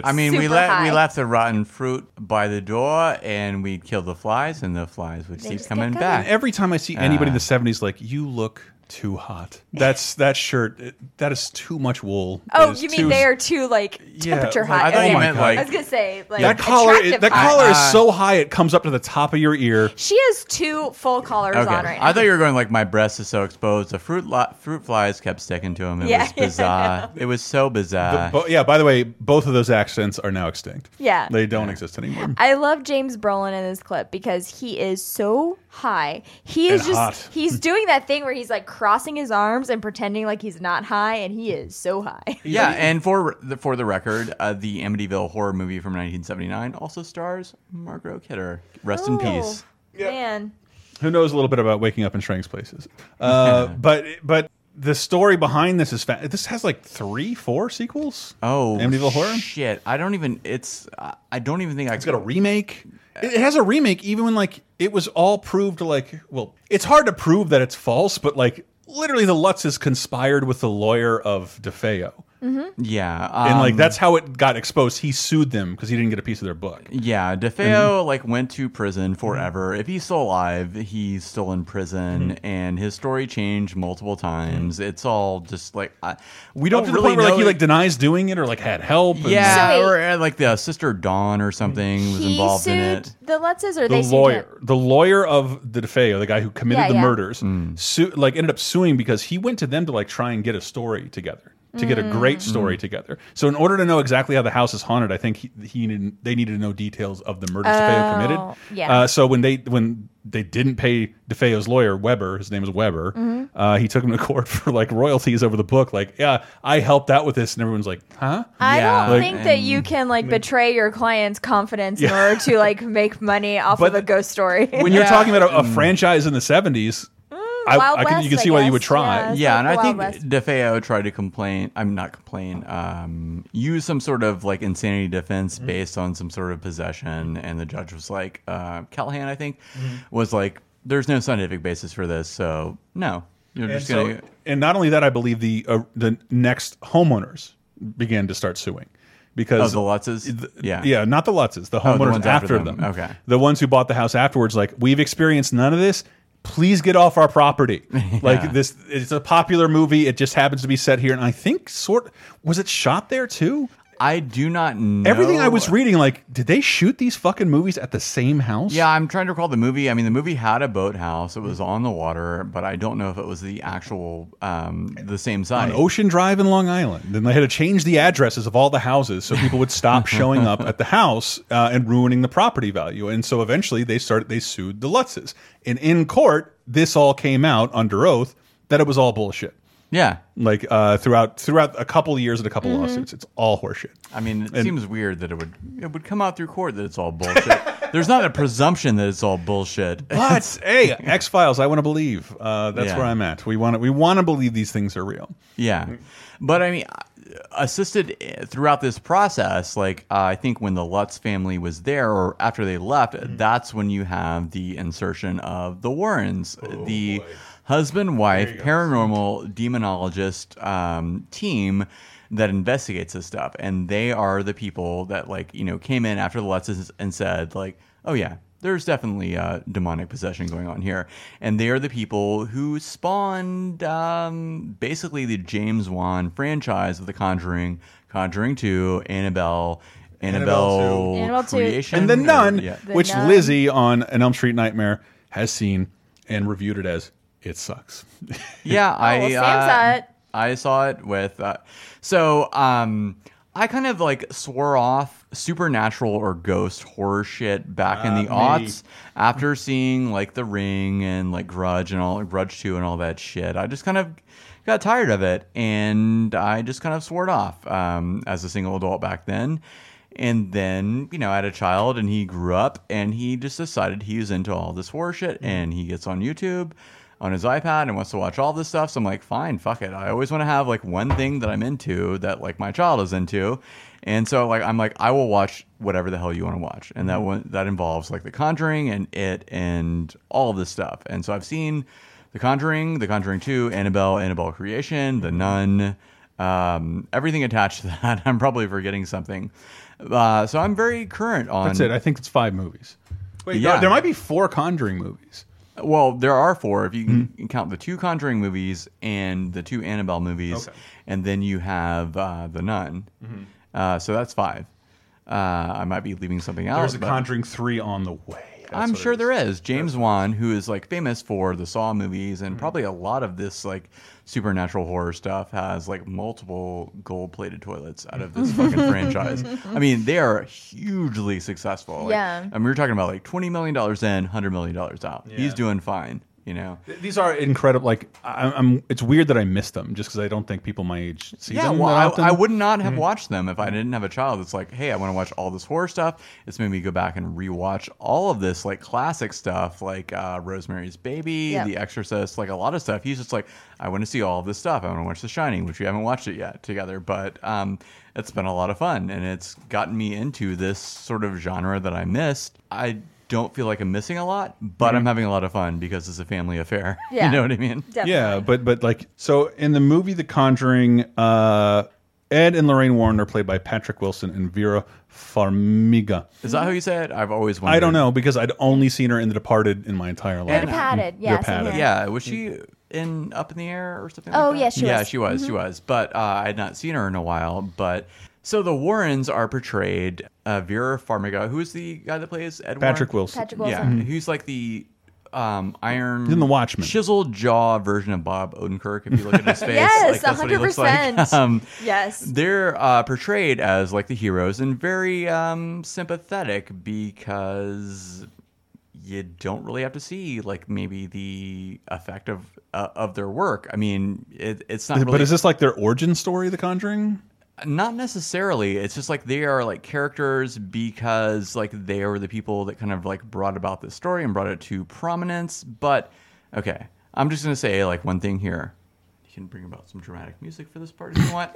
I mean, we
Super
let we
high.
left the rotten fruit by the door, and we'd kill the flies, and the flies would
They
keep
just
coming
kept
back. Uh. Ah.
coming.
Every time I see anybody in the 70s, like, you look too hot. That's that shirt. it- That is too much wool.
Oh,
It is
you mean
too-
they are too like
Yeah,
temperature
like-
hot?
I thought
as
you
in-
meant, like-
I was gonna say like
that collar. Is,
attractive
that
hot.
collar is so high it comes up to the top of your ear.
She has two full collars
Okay,
on right now.
I thought you were going like my breast is so exposed. The fruit lo- fruit flies kept sticking to him. It
Yeah,
was
yeah, I
bizarre. it was so
The-
bizarre.
bo- yeah. By the way, both of those accents are now extinct.
Yeah.
they don't exist anymore.
I love James Brolin in this clip because he is so high. He is
And
just
hot.
he's doing that thing where he's like crossing his arms and pretending like he's not high and he is so high.
yeah, and for the, for the record, uh, the Amityville horror movie from 1979 also stars Margot Kidder. Rest in
Oh.
peace.
Man.
Who knows a little bit about waking up in strange places? Uh, but but the story behind this is fa this has like three, four sequels.
Oh,
Amityville Horror.
Shit, I don't even. It's I- I don't even think I. Uh, It's
got a remake. It it has a remake, even when like it was all proved like well, it's hard to prove that it's false, but like literally the Lutzes conspired with the lawyer of DeFeo.
Mhm. Yeah,
and like
um,
that's how it got exposed. He sued them because he didn't get a piece of their book.
Yeah, DeFeo like went to prison
Mm-hmm.
forever. If he's still alive, he's still in prison,
Mm-hmm.
and his story changed multiple times. It's all just like I, we
Up
don't
to the
really
point where
know.
like he like denies doing it or like had help. and-
yeah, or uh, like the sister Dawn or something was
He
involved
sued
in it.
the Lutzes or
the
they sued him.
lawyer, the lawyer of the DeFeo, the guy who committed
Yeah,
the
yeah.
murders, su like ended up suing because he went to them to like try and get a story together, to get
Hmm.
a great story together. So in order to know exactly how the house is haunted, I think he, he needed, they needed to know details of the murders DeFeo
Oh,
committed.
yeah.
Uh, so when they when they didn't pay DeFeo's lawyer Weber, his name is Weber,
Mhm.
uh, he took him to court for like royalties over the book. Like, yeah, I helped out with this, and everyone's like, huh?
I don't
Like-
think that you can like betray your client's confidence in
Yeah.
order to like make money off
But
of a ghost story.
when you're talking about
Hmm.
a, a franchise in the 70s
Wild
can, you
West,
can
I
see why you would
guess.
try
Yeah, it's
yeah,
like
and
the
I
Wild
think
West.
DeFeo tried to complain. I'm not complain. Um, use some sort of like insanity defense
Mm-hmm.
based on some sort of possession, and the judge was like, uh, Callahan, I think,
Mm-hmm.
was like, "There's no scientific basis for this, so no, you're
and,
just gonna."
so- and not only that i believe the uh, the next homeowners began to start suing because
Oh, the Lutzes? Yeah.
yeah not the lutzes the
Oh, the
homeowners
ones after
after,
them.
them.
Okay.
the ones who bought the house afterwards like we've experienced none of this please get off our property like this it's a popular movie it just happens to be set here and i think sort was it shot there too
I do not know.
Everything I was reading, like, did they shoot these fucking movies at the same house?
Yeah, I'm trying to recall the movie. I mean, the movie had a boathouse. It
Mm-hmm.
was on the water, but I don't know if it was the actual um, the same
on
side.
Ocean Drive in Long Island. And they had to change the addresses of all the houses so people would stop showing up at the house uh, and ruining the property value. And so eventually they started they sued the Lutzes. And in court, this all came out under oath that it was all bullshit.
Yeah,
like uh, throughout throughout a couple of years and a couple
Mhm.
lawsuits, it's all horseshit.
I mean, it
And-
seems weird that it would it would come out through court that it's all bullshit. There's not a presumption that it's all bullshit.
But hey, X Files, I want to believe. Uh, that's
Yeah.
where I'm at. We want to we want to believe these things are real.
Yeah, but I mean, uh, assisted uh, throughout this process. Like uh, I think when the Lutz family was there, or after they left,
Mm-hmm.
that's when you have the insertion of the Warrens,
Oh,
the husband-wife paranormal demonologist um, team that investigates this stuff, and they are the people that like you know came in after the Lutzes and said like, oh yeah. There's definitely uh, demonic possession going on here, and they are the people who spawned um, basically the James Wan franchise of The Conjuring, Conjuring Two, Annabelle, Annabelle,
Annabelle 2.
Creation,
and the
or-
nun,
yeah.
which Lizzie on An Elm Street Nightmare has seen and reviewed it as it sucks.
Yeah, I
well, Sam
uh,
saw it.
I saw it with. Uh, so um, I kind of like swore off supernatural or ghost horror shit back in the
Ah, me.
aughts after seeing like The Ring and like Grudge and all Grudge Two and all that shit. I just kind of got tired of it and I just kind of swore it off um, as a single adult back then. And then, you know, I had a child and he grew up and he just decided he was into all this horror shit and he gets on YouTube on his iPad and wants to watch all this stuff. So I'm like, fine, fuck it. I always want to have like one thing that I'm into that like my child is into. And so like I'm like, I will watch whatever the hell you want to watch.
Mm-hmm.
And that one that involves like the conjuring and it and all of this stuff. And so I've seen the Conjuring, The Conjuring 2, Annabelle, Annabelle Creation,
Mm-hmm.
The Nun, um, everything attached to that. I'm probably forgetting something. Uh, so I'm very current on.
That's it. I think it's five movies. Wait, there- there might be four Conjuring movies. Hmm.
Well, there are four if you can count the two Conjuring movies and the two Annabelle movies, and then you have uh, The Nun.
Mhm.
Uh, so that's five. Uh, I might be leaving something out.
There's a
but-
Conjuring three on the way.
I'm sure there is. James Wan, who is like famous for the Saw movies
Mm-hmm.
and probably a lot of this like supernatural horror stuff, has like multiple gold plated toilets out of this fucking franchise. I mean, they are hugely successful. Like,
Yeah.
I mean, we're talking about like $20 million in, $100 million out. He's doing fine, you know?
These are incredible. Like I, I'm, it's weird that I missed them just because I don't think people my age see
yeah,
them.
well,
that often.
I, I would not have
Mhm.
watched them if I didn't have a child. It's like, hey, I want to watch all this horror stuff. It's made me go back and rewatch all of this like classic stuff, like uh, Rosemary's Baby,
Yep.
The Exorcist, like a lot of stuff. He's just like, I want to see all of this stuff. I want to watch The Shining, which we haven't watched it yet together, but um, it's been a lot of fun and it's gotten me into this sort of genre that I missed. I don't feel like I'm missing a lot, but I'm having a lot of fun because it's a family affair.
Mm-hmm. Yeah.
you know what I mean?
Yeah, but but like so in the movie The Conjuring, uh, Ed and Lorraine Warren are played by Patrick Wilson and Vera Farmiga.
Is that how you say it? I've always wondered.
I don't know because I'd only seen her in The Departed in my entire life.
And- The
Departed,
The
yeah, same
Departed.
here.
Yeah, was she in Up in the Air or something?
Oh,
like that?
yeah, she
yeah,
was.
she was, she
Mhm.
was. But uh, I had not seen her in a while. But so the Warrens are portrayed. Uh, Vera Farmiga, who is the guy that plays Edward?
Patrick Wilson. Patrick
Yeah,
Wilson. Mhm.
who's like the um, iron
He's in The Watchmen.
chisel jaw version of Bob Odenkirk. If you look at his face,
Yes,
like, that's what he looks like.
100%.
Um,
Yes.
they're uh, portrayed as like the heroes and very um, sympathetic because you don't really have to see like maybe the effect of uh, of their work. I mean, it, it's not. Really,
But is this like their origin story, The Conjuring?
not necessarily. It's just like they are like characters because like they are the people that kind of like brought about this story and brought it to prominence. But okay, I'm just gonna say like one thing here. You can bring about some dramatic music for this part if you want.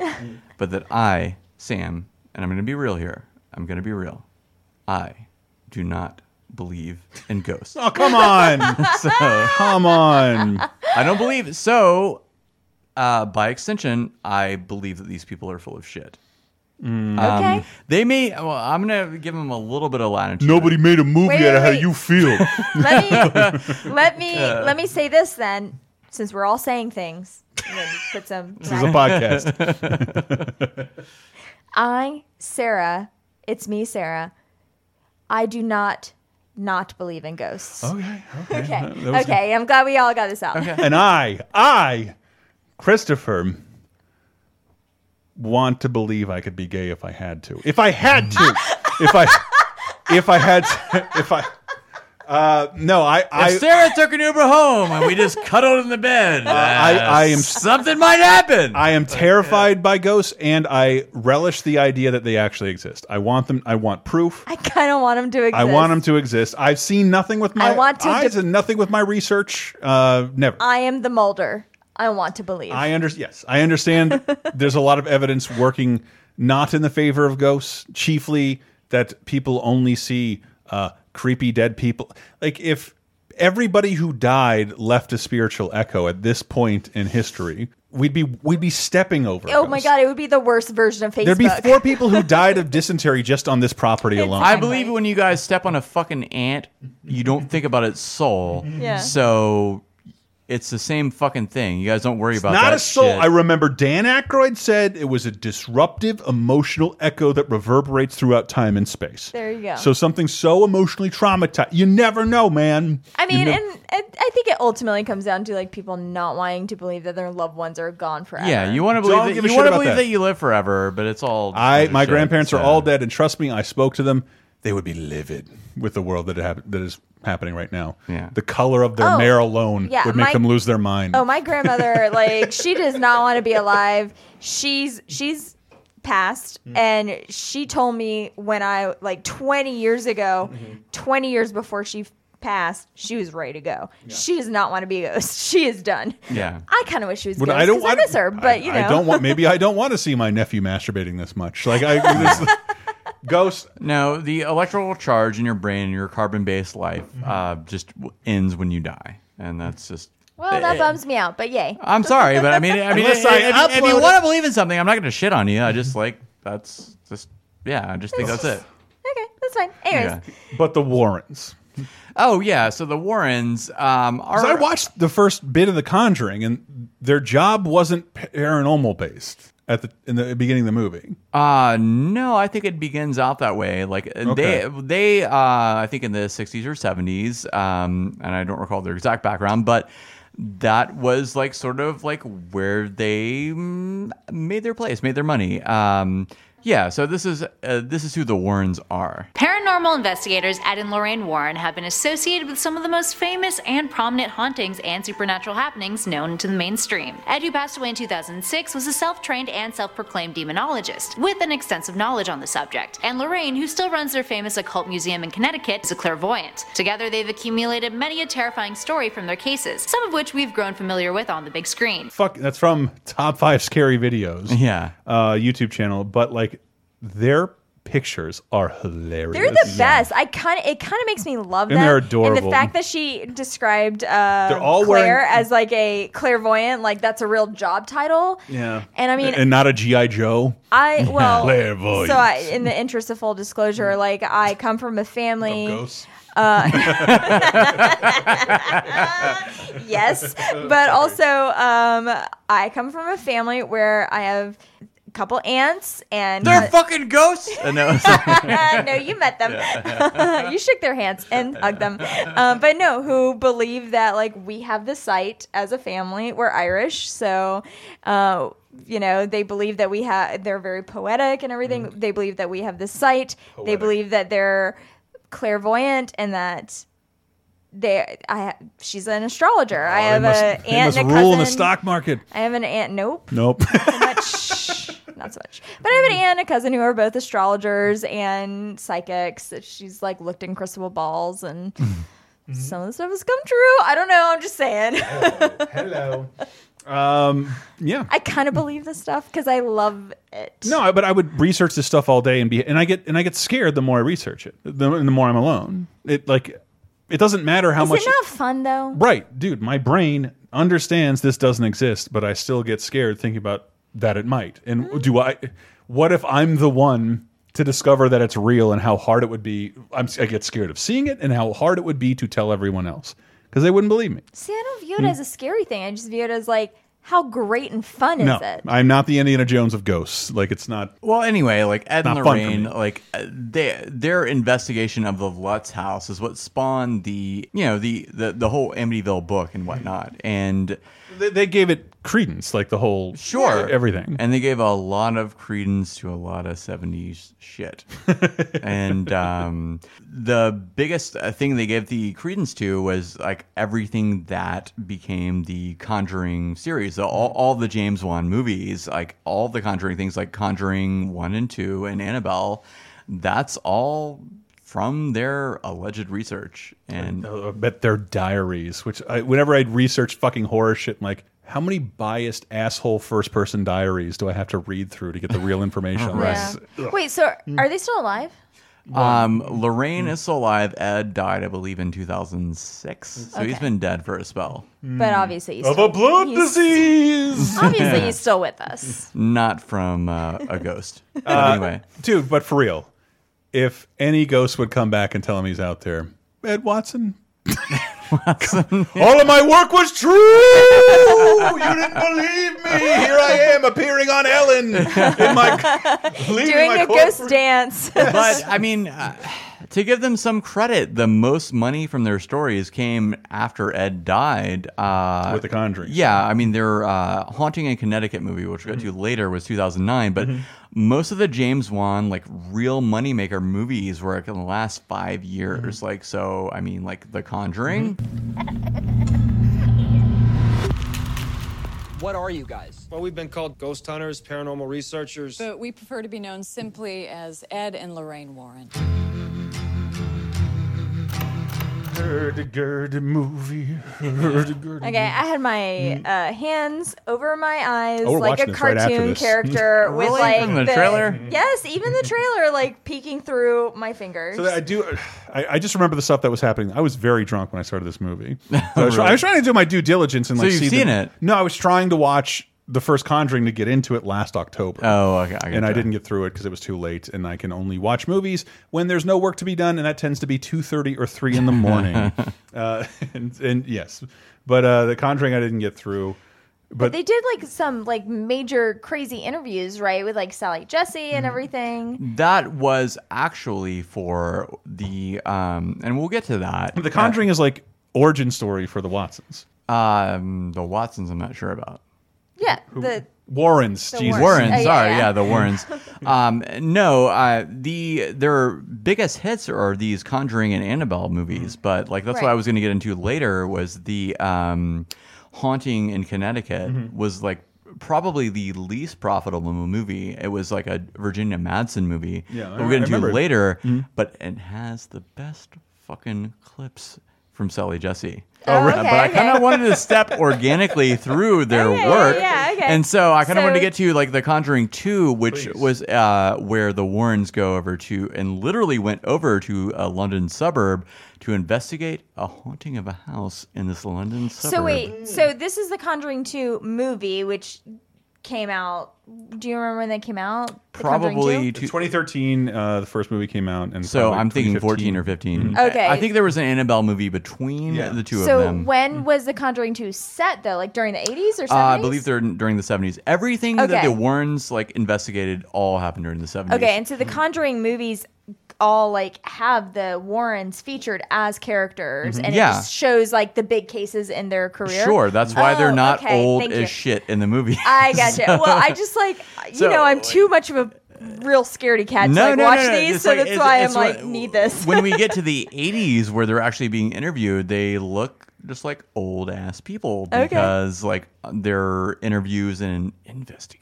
but that I, Sam, and I'm gonna be real here. I'm gonna be real. I do not believe in ghosts.
Oh, come on. come on.
I don't believe it. So, uh, by extension, I believe that these people are full of shit.
Mm.
Um,
Okay.
They may. Well, I'm gonna give them a little bit of latitude.
Nobody made a movie
Wait, out of wait, how wait.
you feel.
Let me let me
Uh.
let me say this then, since we're all saying things. and then Put some.
This is a podcast.
I, Sarah, it's me, Sarah. I do not not believe in ghosts.
Okay.
Okay. Okay.
That was good.
I'm glad we all got this out.
and I, I, Christopher, want to believe I could be gay if I had to. If I had to. if I, if I had, to, if I, Uh, no, I, I
If Sarah took an Uber home and we just cuddled in the bed,
I, I am
something might happen.
I am terrified by ghosts, and I relish the idea that they actually exist. I want them. I want proof.
I kind of want him to exist.
I want them to exist. I've seen nothing with my
I want to
eyes
de-
and nothing with my research. Uh, never.
I am the Mulder. I want to believe.
I under yes, I understand. there's a lot of evidence working not in the favor of ghosts, chiefly that people only see uh, creepy dead people. Like if everybody who died left a spiritual echo at this point in history, we'd be we'd be stepping over.
oh my god, it would be the worst version of Facebook.
There'd be four people who died of dysentery just on this property alone.
I believe when you guys step on a fucking ant, you don't think about its soul.
Yeah.
So it's the same fucking thing. You guys don't worry about
Not
that
a soul.
shit.
I remember Dan Aykroyd said it was a disruptive emotional echo that reverberates throughout time and space.
There you go.
So something so emotionally traumatized. You never know, man.
I
You
mean,
ne-
and it, I think it ultimately comes down to like people not wanting to believe that their loved ones are gone forever.
yeah, you want to
Don't
believe
give a
that, you
shit
want to
about
believe
that.
that. you live forever, but it's all.
I my
shit,
grandparents are
so.
all dead, and trust me, I spoke to them. They would be livid with the world that it hap- that is happening right now. Yeah. The color of their
Oh,
mare alone
yeah,
would make
my-
them lose their mind.
Oh, my grandmother, like she does not want to be alive. She's she's passed, and she told me when I like 20 years ago, 20 years before she passed, she was ready to go. She does not want to be a ghost. She is done.
Yeah.
I kind of wish she was.
But
Ghost,
I
I
don't
I
want-
miss her, but
I,
you know,
I don't want. Maybe I don't want to see my nephew masturbating this much. Like I, this, ghost.
No, the electrical charge in your brain, your carbon-based life,
Mm-hmm.
uh, just w- ends when you die, and that's just.
well, that bums me out. But yay,
I'm sorry, but I mean, I mean,
Unless
if,
I
if- if you
upload
want
it-
to believe in something, I'm not going to shit on you. I just like that's just yeah. I just think that's it.
that's fine. Anyways,
But the Warrens.
Oh yeah, so the Warrens um, are.
Because I watched the first bit of The Conjuring, and their job wasn't paranormal based at the in the beginning of the movie.
Uh no, I think it begins out that way. Like uh,
Okay.
they they uh I think in the 60s or 70s um and I don't recall their exact background, but that was like sort of like where they mm, made their place, made their money. Um yeah, so this is uh, this is who the Warrens are.
Paranormal investigators Ed and Lorraine Warren have been associated with some of the most famous and prominent hauntings and supernatural happenings known to the mainstream. Ed, who passed away in 2006, was a self trained and self proclaimed demonologist with an extensive knowledge on the subject. And Lorraine, who still runs their famous occult museum in Connecticut, is a clairvoyant. Together, they've accumulated many a terrifying story from their cases, some of which we've grown familiar with on the big screen.
Fuck, that's from Top Five Scary Videos.
Yeah,
uh, YouTube channel. But like their pictures are hilarious.
They're the best. I kind of it kind of makes me love
And
them.
they're
And
adorable.
the fact that she described uh,
They're all
Claire
wearing-
as like a clairvoyant, like that's a real job title.
Yeah,
And I mean-
and not a GI Joe.
I well,
Clairvoyant.
so I, in the interest of full disclosure, like I come from a family.
ghosts?
Uh, yes, but
Sorry.
also um, I come from a family where I have a couple aunts and
They're fucking ghosts. Uh, no,
no, you met them. you shook their hands and hugged them. Um, but no, who believe that like we have the sight as a family. We're Irish, so uh, you know they believe that we have. They're very poetic and everything.
Mm.
They believe that we have the sight. They
Poetic.
believe that they're clairvoyant and that. They, I, ha- she's an astrologer. I
They
have
must-
a
they
aunt
must
and a
rule
cousin.
in the stock market.
I have an aunt. Nope
Nope.
not so much. But I
Mm.
have an aunt and a cousin who are both astrologers and psychics. She's like looked in crystal balls and
Mm-hmm.
some of the stuff has come true. I don't know. I'm just saying.
Hello. Um, yeah.
I kind of believe this stuff because I love it.
No, I- but I would research this stuff all day and be, and I get, and I get scared the more I research it, the, the more I'm alone. It like, it doesn't matter how
Is
much.
it not fun though?
right, dude. My brain understands this doesn't exist, but I still get scared thinking about that it might. And
Mm.
do I? What if I'm the one to discover that it's real and how hard it would be? I'm, I get scared of seeing it and how hard it would be to tell everyone else because they wouldn't believe me.
See, I don't view it
Hmm.
as a scary thing. I just view it as like, how great and fun
No,
is it?
I'm not the Indiana Jones of ghosts. Like it's not.
Well, anyway, like Ed
Not
and
fun for
Lorraine,
me.
like uh, they, their investigation of the Lutz house is what spawned the you know the the, the whole Amityville book and whatnot. And
they, they gave it credence, like the whole
Sure.
everything.
And they gave a lot of credence to a lot of 70s shit. and um, the biggest uh, thing they gave the credence to was like everything that became the Conjuring series. So all, all the James Wan movies, like all the Conjuring things, like Conjuring 1 and 2 and Annabelle, that's all from their alleged research. And
Oh, I bet their diaries, which I, whenever I'd research fucking horror shit, I'm like, how many biased asshole first person diaries do I have to read through to get the real information? on this?
Yeah. Wait, so
Mm.
are they still alive?
Um, Lorraine is still alive. Ed died, I believe, in 2006. So he's
Okay.
been dead for a spell.
But obviously, he's
Hmm. Of
still,
a blood
he's-
disease.
Obviously, he's still with us.
Not from uh, a ghost. But
Uh,
anyway,
dude, but for real, if any ghost would come back and tell him he's out there, Ed Watson. All of my work was true. you didn't believe me. Here I am appearing on Ellen in my
Doing
my
a ghost dance.
but I mean, uh, to give them some credit, the most money from their stories came after Ed died. Uh,
With The Conjuring.
Yeah, I mean, their uh, Haunting in Connecticut movie, which we'll get
Mm-hmm.
to later, was 2009. But
Mhm.
most of the James Wan, like, real moneymaker movies were like, in the last five years.
Mm-hmm.
Like, so, I mean, like, The Conjuring.
What are you guys? Well, we've been called ghost hunters, paranormal researchers.
But we prefer to be known simply as Ed and Lorraine Warren.
Hurdy-gurdy movie. Hurdy-gurdy.
Okay, I had my
Hmm.
uh, hands over my eyes
Oh, we're
like a
watching this right after
cartoon
this.
character with
Really?
like
From the trailer?
Yes, even the trailer like peeking through my fingers.
So I do. I, I just remember the stuff that was happening. I was very drunk when I started this movie. So I, was,
Really?
I was trying to do my due diligence and
So
like
you've
see the-
seen it?
No, I was trying to watch the first Conjuring to get into it last October.
Oh, okay. I
and I
gotcha.
didn't get through it because it was too late, and I can only watch movies when there's no work to be done, and that tends to be two thirty or three in the morning. uh, and, and yes, but uh, the Conjuring I didn't get through.
but,
But
they did like some like major crazy interviews, right, with like Sally Jesse
Hmm.
and everything.
That was actually for the um, and we'll get to that.
The Conjuring is like origin story for the Watsons.
Um, the Watsons, I'm not sure about.
Yeah, the
Warrens,
The
Jesus.
Warrens,
Uh,
Oh, yeah,
sorry,
yeah.
yeah, the Warrens. um, no, uh, the their biggest hits are these Conjuring and Annabelle movies, but like that's what
Mm-hmm. Right.
I was going to get into later was the um, Haunting in Connecticut
Mhm.
was like probably the least profitable movie. It was like a Virginia Madsen movie.
Yeah, I
But we're
re- I
going to do
remember. Mm-hmm.
later, but it has the best fucking clips from Sally Jesse. Uh,
Oh, Oh, really?
but I
okay,
kind
okay.
of wanted to step organically through their
Okay,
work.
yeah, okay.
And so I kind of
So-
wanted to get to like The Conjuring 2, which was uh, where the Warrens go over to and literally went over to a London suburb to investigate a haunting of a house in this London suburb.
So wait, so this is the Conjuring Two movie, which came out. Do you remember when they came out? The Conjuring 2?
2013. Uh, the first movie came out, and
So
probably
I'm thinking
2015.
14 or 15.
Mhm. Okay.
I think there was an Annabelle movie between the two
so
of them.
when was the Conjuring Two set though? Like during the eighties or
Uh,
something?
I believe they're in- during the 70s. Everything that
Okay.
the Warrens like investigated all happened during the 70s.
Okay, and so the Conjuring movies all like have the Warrens featured as characters,
Mhm.
and
Yeah.
it just shows like the big cases in their career.
Sure, that's why
Oh,
they're not
okay,
old
thank
as
you.
shit in the movie.
I gotcha. Well, I just like you
So-
know I'm too much of a real scaredy cat to
No,
like
no, no,
watch
no,
these,
it's
so
like-
that's
it's-
why
it's
I'm like
what-
need this.
when we get to the 80s where they're actually being interviewed, they look just like old ass people
Okay.
because like their interviews and investigations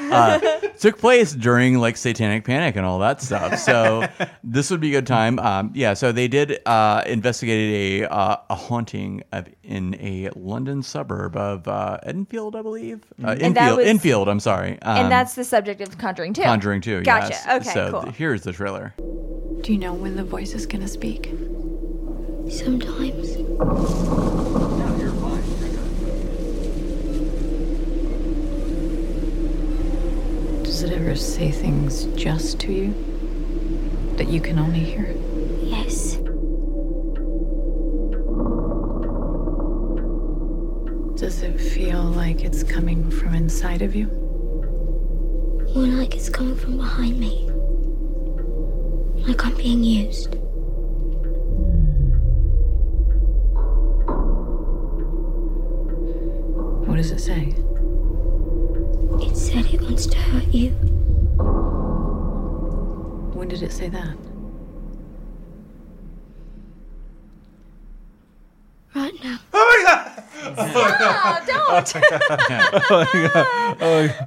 Oh
uh, took place during like satanic panic and all that stuff. So this would be a good time. Um, yeah, so they did uh, investigated a uh, a haunting of in a London suburb of uh, Enfield, I believe. Uh,
Mm-hmm. And that
Enfield,
was-
Enfield. I'm sorry. Um,
and that's the subject of Conjuring Two.
Conjuring Two.
Gotcha.
yes.
Okay.
So
cool.
th- here's the trailer.
Do you know when the voice is gonna speak?
Sometimes.
Does it ever say things just to you that you can only hear?
Yes.
Does it feel like it's coming from inside of you?
More like it's coming from behind me. Like I'm being used.
does it say?
It said it wants to hurt you.
When did it say that?
Right now.
Oh,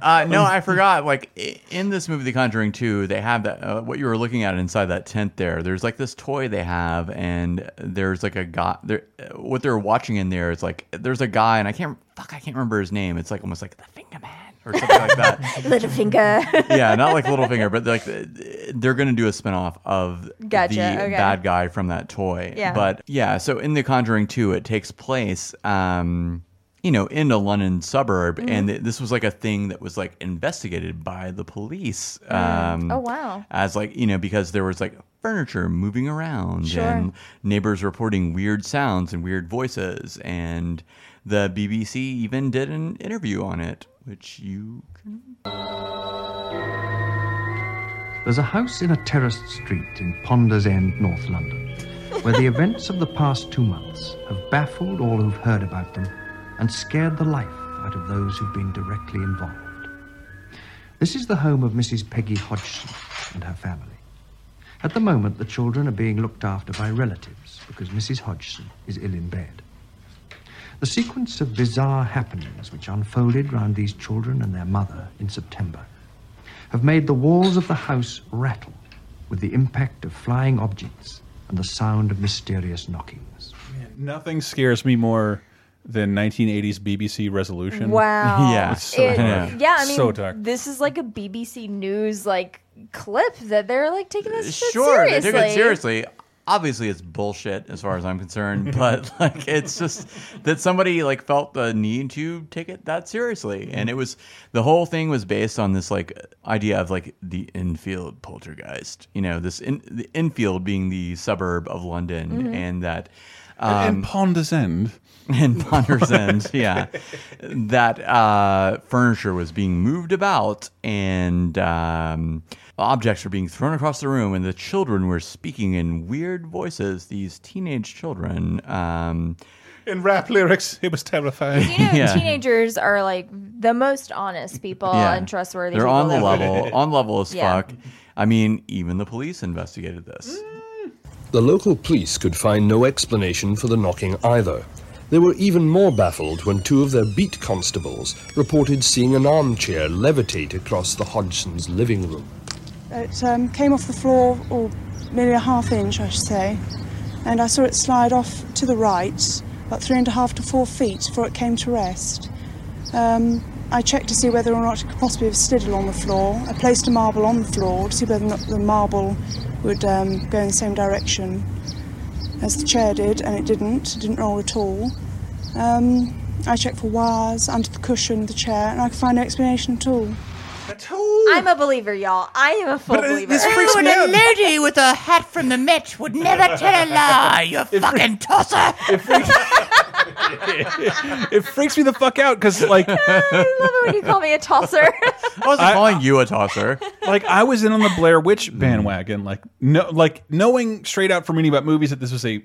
uh, no, I forgot. Like i- in this movie, The Conjuring 2, they have that. Uh, what you were looking at inside that tent there. There's like this toy they have, and there's like a guy. There, uh, what they're watching in there is like there's a guy, and I can't. Fuck, I can't remember his name. It's like almost like the finger man or something like that.
Little finger.
yeah, not like Littlefinger, but like they're going to do a spinoff of
Gotcha,
the
okay.
bad guy from that toy.
Yeah.
But yeah, so in The Conjuring 2, it takes place, um, you know, in a London suburb.
Mhm.
And th- this was like a thing that was like investigated by the police. Um,
Oh, wow.
As like, you know, because there was like furniture moving around
Sure.
and neighbors reporting weird sounds and weird voices. And the BBC even did an interview on it, which you
There's a house in a terraced street in Ponder's End, North London, where the events of the past two months have baffled all who've heard about them and scared the life out of those who've been directly involved. This is the home of Mrs. Peggy Hodgson and her family. At the moment, the children are being looked after by relatives because Mrs. Hodgson is ill in bed. The sequence of bizarre happenings which unfolded round these children and their mother in September have made the walls of the house rattle with the impact of flying objects and the sound of mysterious knockings.
Nothing scares me more than 1980s BBC resolution.
Wow.
It's so
It-
dark.
yeah, I mean,
so dark.
this is like a BBC News like clip that they're like taking this shit
Uh, sure they
seriously.
took it seriously obviously it's bullshit as far as i'm concerned but like it's just that somebody like felt the need to take it that seriously and it was the whole thing was based on this like idea of like the infield poltergeist you know this in the infield being the suburb of london
Mhm.
and that um,
And- and Ponder's End.
and Ponder's End, yeah. That uh, furniture was being moved about and um, objects were being thrown across the room, and the children were speaking in weird voices, these teenage children. Um,
In rap lyrics, it was terrifying.
You know,
Yeah.
teenagers are like the most honest people and trustworthy.
They're
people
on the
that we-
level, on level as
Yeah.
fuck. I mean, even the police investigated this.
The local police could find no explanation for the knocking either. They were even more baffled when two of their beat constables reported seeing an armchair levitate across the Hodgson's living room.
It um, came off the floor, or nearly a half inch, I should say, and I saw it slide off to the right, about three and a half to four feet, before it came to rest. Um, I checked to see whether or not it could possibly have slid along the floor. I placed a marble on the floor to see whether or not the marble would um, go in the same direction as the chair did, and it didn't. It didn't roll at all. Um, I checked for wires under the cushion of the chair, and I could find no explanation at all.
I'm a believer, y'all. I am a full believer.
lady with a hat from the Met would never tell a lie, you fucking tosser!
it freaks me the fuck out because like
when you call me a tosser.
I wasn't calling you a tosser.
Like I was in on the Blair Witch bandwagon. Like no, like knowing straight out from reading about movies that this was a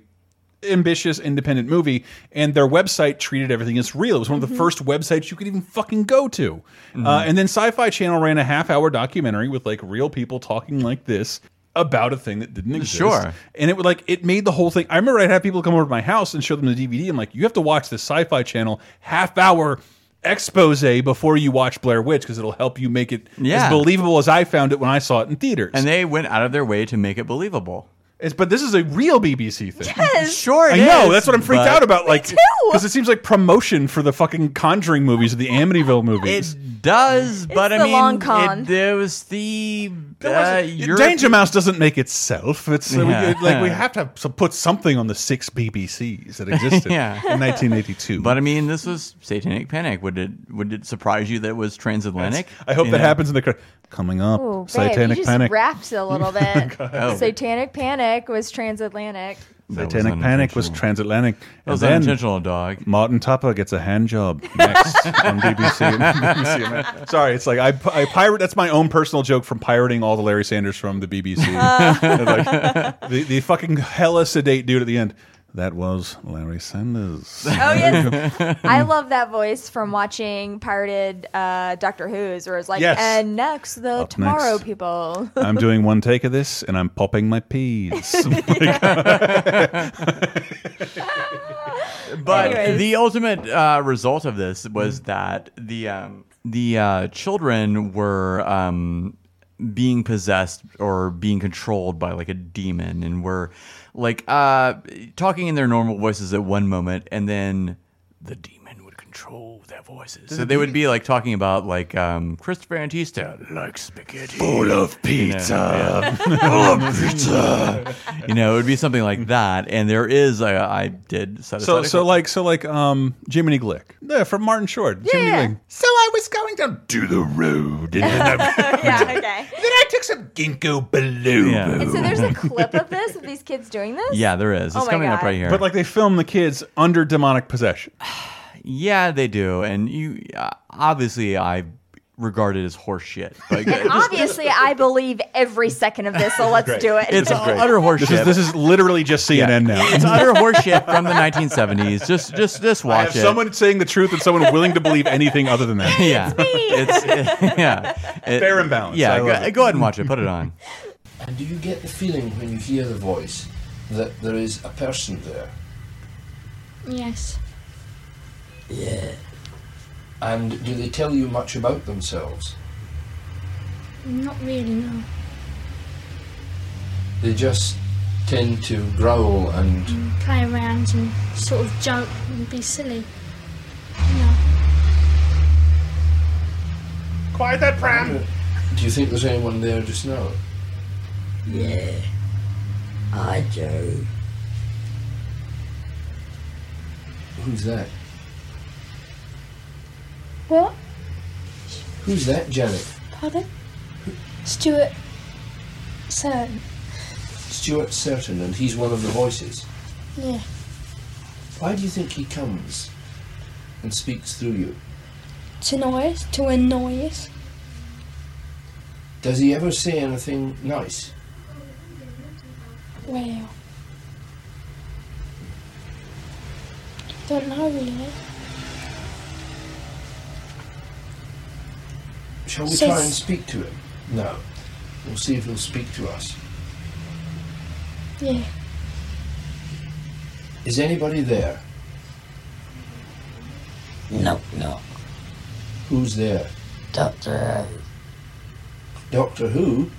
ambitious independent movie, and their website treated everything as real. It was one of the
Mhm.
first websites you could even fucking go to. Uh,
Mm-hmm.
Mhm.
and then Sci-Fi Channel ran a half-hour documentary with like real people talking like this about a thing that didn't exist.
Sure.
And it would like it made the whole thing. I remember I'd have people come over to my house and show them the DVD. and like, you have to watch this Sci-Fi Channel half-hour expose before you watch Blair Witch because it'll help you make it
Yeah.
as believable as I found it when I saw it in theaters. And
they went out of their way to make it believable.
It's, but this is a real BBC thing.
Yes.
Sure it
I know.
is,
That's what I'm freaked
but-
out about.
Me
Like,
too.
because it seems like promotion for the fucking Conjuring movies or the Amityville movies.
It does, but I
the
mean,
long con.
It, there was the uh,
wasn't- Danger Mouse doesn't make itself. It's uh, we-
Yeah.
like we have to have some- put something on the six BBCs that existed
yeah.
in 1982.
But I mean, this was Satanic Panic. Would it would it surprise you that it was transatlantic?
That's- I hope that happens in the cre- coming up.
Ooh, babe, you just wrapped a little bit. Satanic Panic was transatlantic.
Satanic Panic was transatlantic.
That was unintentional, dog.
Martin Tupper gets a hand job next on BBC. BBC America. Sorry, it's like I, I pirate. That's my own personal joke from pirating all the
Uh.
Larry Sanders from the BBC.
Ah.
Like, the, the fucking hella sedate dude at the end. That was Larry Sanders.
Oh, yes. I love that voice from watching pirated uh, Doctor Who's, where it's like,
Yes.
and next the
Up
Tomorrow
next.
People.
I'm doing one take of this, and I'm popping my peas.
But
Anyways.
the ultimate uh, result of this was
Mm-hmm.
that the um, the uh, children were um, being possessed or being controlled by like a demon, and were like uh, talking in their normal voices at one moment, and then the demon would control their voices. So they would be like talking about like um, Christopher Antista likes spaghetti,
Full of
You know,
pizza.
yeah.
Full of pizza.
You know, it would be something like that. And there is, I, I did set
so,
aside a
so like, so like, um, Jiminy Glick. Yeah, from Martin Short. Jiminy Glick.
So I was going down
Do the road. And
yeah, okay.
Then I took some
Ginkgo Baloo.
And so there's a clip of this, of these kids doing this?
Yeah, there is. It's
Oh my
coming up
God.
right here.
But like they film the kids under demonic possession.
yeah, they do. And you, uh, obviously, I regard it as horseshit. Like,
And obviously, I believe every second of this, so let's do it.
It's utter horseshit.
This is, this is literally just CNN now.
it's utter horseshit from the 1970s. Just, just, just
I
watch
have
it.
someone saying the truth and someone willing to believe anything other than that.
yeah, it's, yeah, It-
Fair and balanced.
Yeah,
I
go,
love it.
go ahead and watch it. Put it on.
And do you get the feeling when you hear the voice that there is a person there?
Yes.
Yeah. And do they tell you much about themselves?
Not really, no.
They just tend to growl and.
Play around and sort of joke and be silly.
Quiet that pram.
Do you think there's anyone there just now?
Yeah, I do.
Who's that?
What?
Who's that, Janet?
Pardon? Stuart. Certain.
Stuart Certain, and he's one of the voices.
Yeah.
Why do you think he comes and speaks through you?
To annoy us, to annoy us.
Does he ever say anything nice?
Well. Don't know really.
Shall we
Says-
try and speak to him? No. We'll see if he'll speak to us.
Yeah.
Is anybody there?
No, no.
Who's there? Doctor Who. Doctor Who?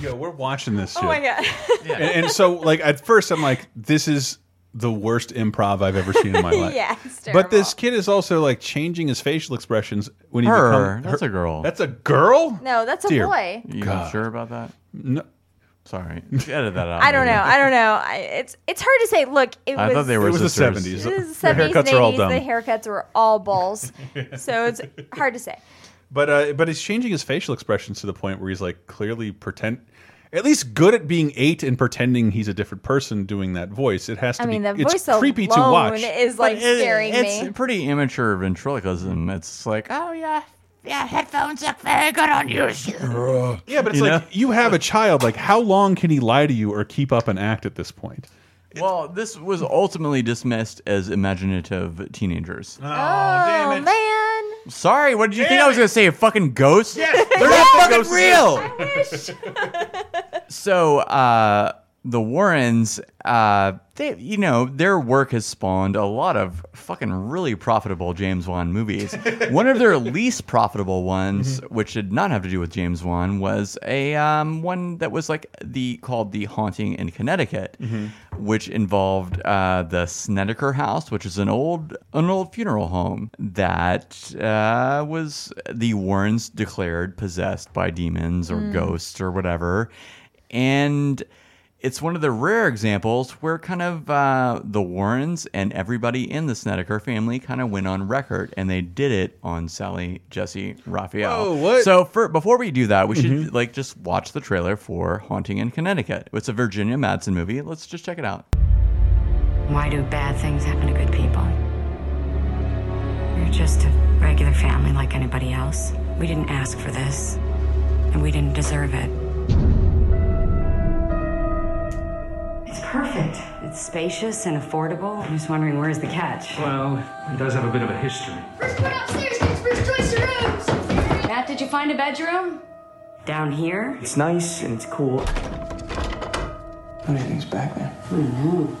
Yo, we're watching this. Shit.
Oh my God.
and, and so, like at first, I'm like, this is the worst improv I've ever seen in my life.
Yeah, it's
but this kid is also like changing his facial expressions when he
Her.
become-
That's a girl.
That's a girl.
No, that's a
Dear
boy.
You
God.
sure about that?
No.
Sorry. Edit that out.
I don't know.
maybe.
I don't know. I, it's it's hard to say. Look, it
I
was
thought they were
It was the
sisters.
70s.
It was the
Their
70s,
haircuts
and
are all
80s.
dumb.
The haircuts were all balls, so it's hard to say.
But uh, but he's changing his facial expressions to the point where he's like clearly pretend, at least good at being eight and pretending he's a different person doing that voice. It has to
I mean,
be.
the
it's
voice alone
creepy to watch.
is like
it-
scaring
It's
me.
pretty immature ventriloquism. It's like, oh, yeah.
Yeah, headphones look very good on you.
Yeah, but it's
You
like you have a child. Like, how long can he lie to you or keep up and act at this point?
Well, this was ultimately dismissed as imaginative teenagers.
Oh, man.
Sorry, what did you think I was going to say? A fucking ghost?
Yes.
They're
Yes.
not fucking
Ghosts.
real.
I wish.
So, uh, the Warrens, uh, they, you know, their work has spawned a lot of fucking really profitable James Wan movies. one of their least profitable ones, which did not have to do with James Wan, was a um, one that was like the called The Haunting in Connecticut,
Mhm.
which involved uh, the Snedeker House, which is an old an old funeral home that uh, was the Warrens declared possessed by demons or
Mm.
ghosts or whatever, and it's one of the rare examples where kind of uh, the Warrens and everybody in the Snedeker family kind of went on record, and they did it on Sally, Jesse, Raphael.
Whoa, what?
So for, before we do that, we should like just watch the trailer for Haunting in Connecticut. It's a Virginia Madsen movie. Let's just check it out.
Why do bad things happen to good people? We're just a regular family like anybody else. We didn't ask for this, and we didn't deserve it. It's perfect. It's spacious and affordable. I'm just wondering, where's the catch?
Well, it does have a bit of a history.
Matt, did you find a bedroom? Down here?
It's nice and it's cool.
Everything's back there.
I know.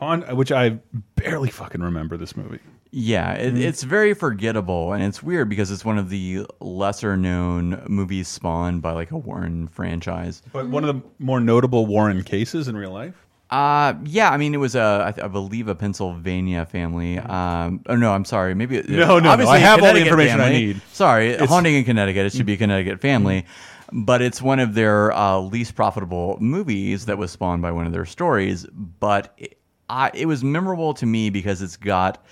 on which I barely fucking remember this movie.
Yeah, it, it's very forgettable, and it's weird because it's one of the lesser-known movies spawned by like a Warren franchise.
But one of the more notable Warren cases in real life.
Uh, yeah, I mean, it was a, I, th- I believe, a Pennsylvania family. Um, oh no, I'm sorry, maybe it-
Mm-hmm. No, no, no,
obviously
I have all the
Connecticut
information I
family.
need.
Sorry,
It's- Mm-hmm.
haunting in Connecticut. It should be a Connecticut family, but it's one of their uh, least profitable movies that was spawned by one of their stories. But it, I, it was memorable to me because it's got.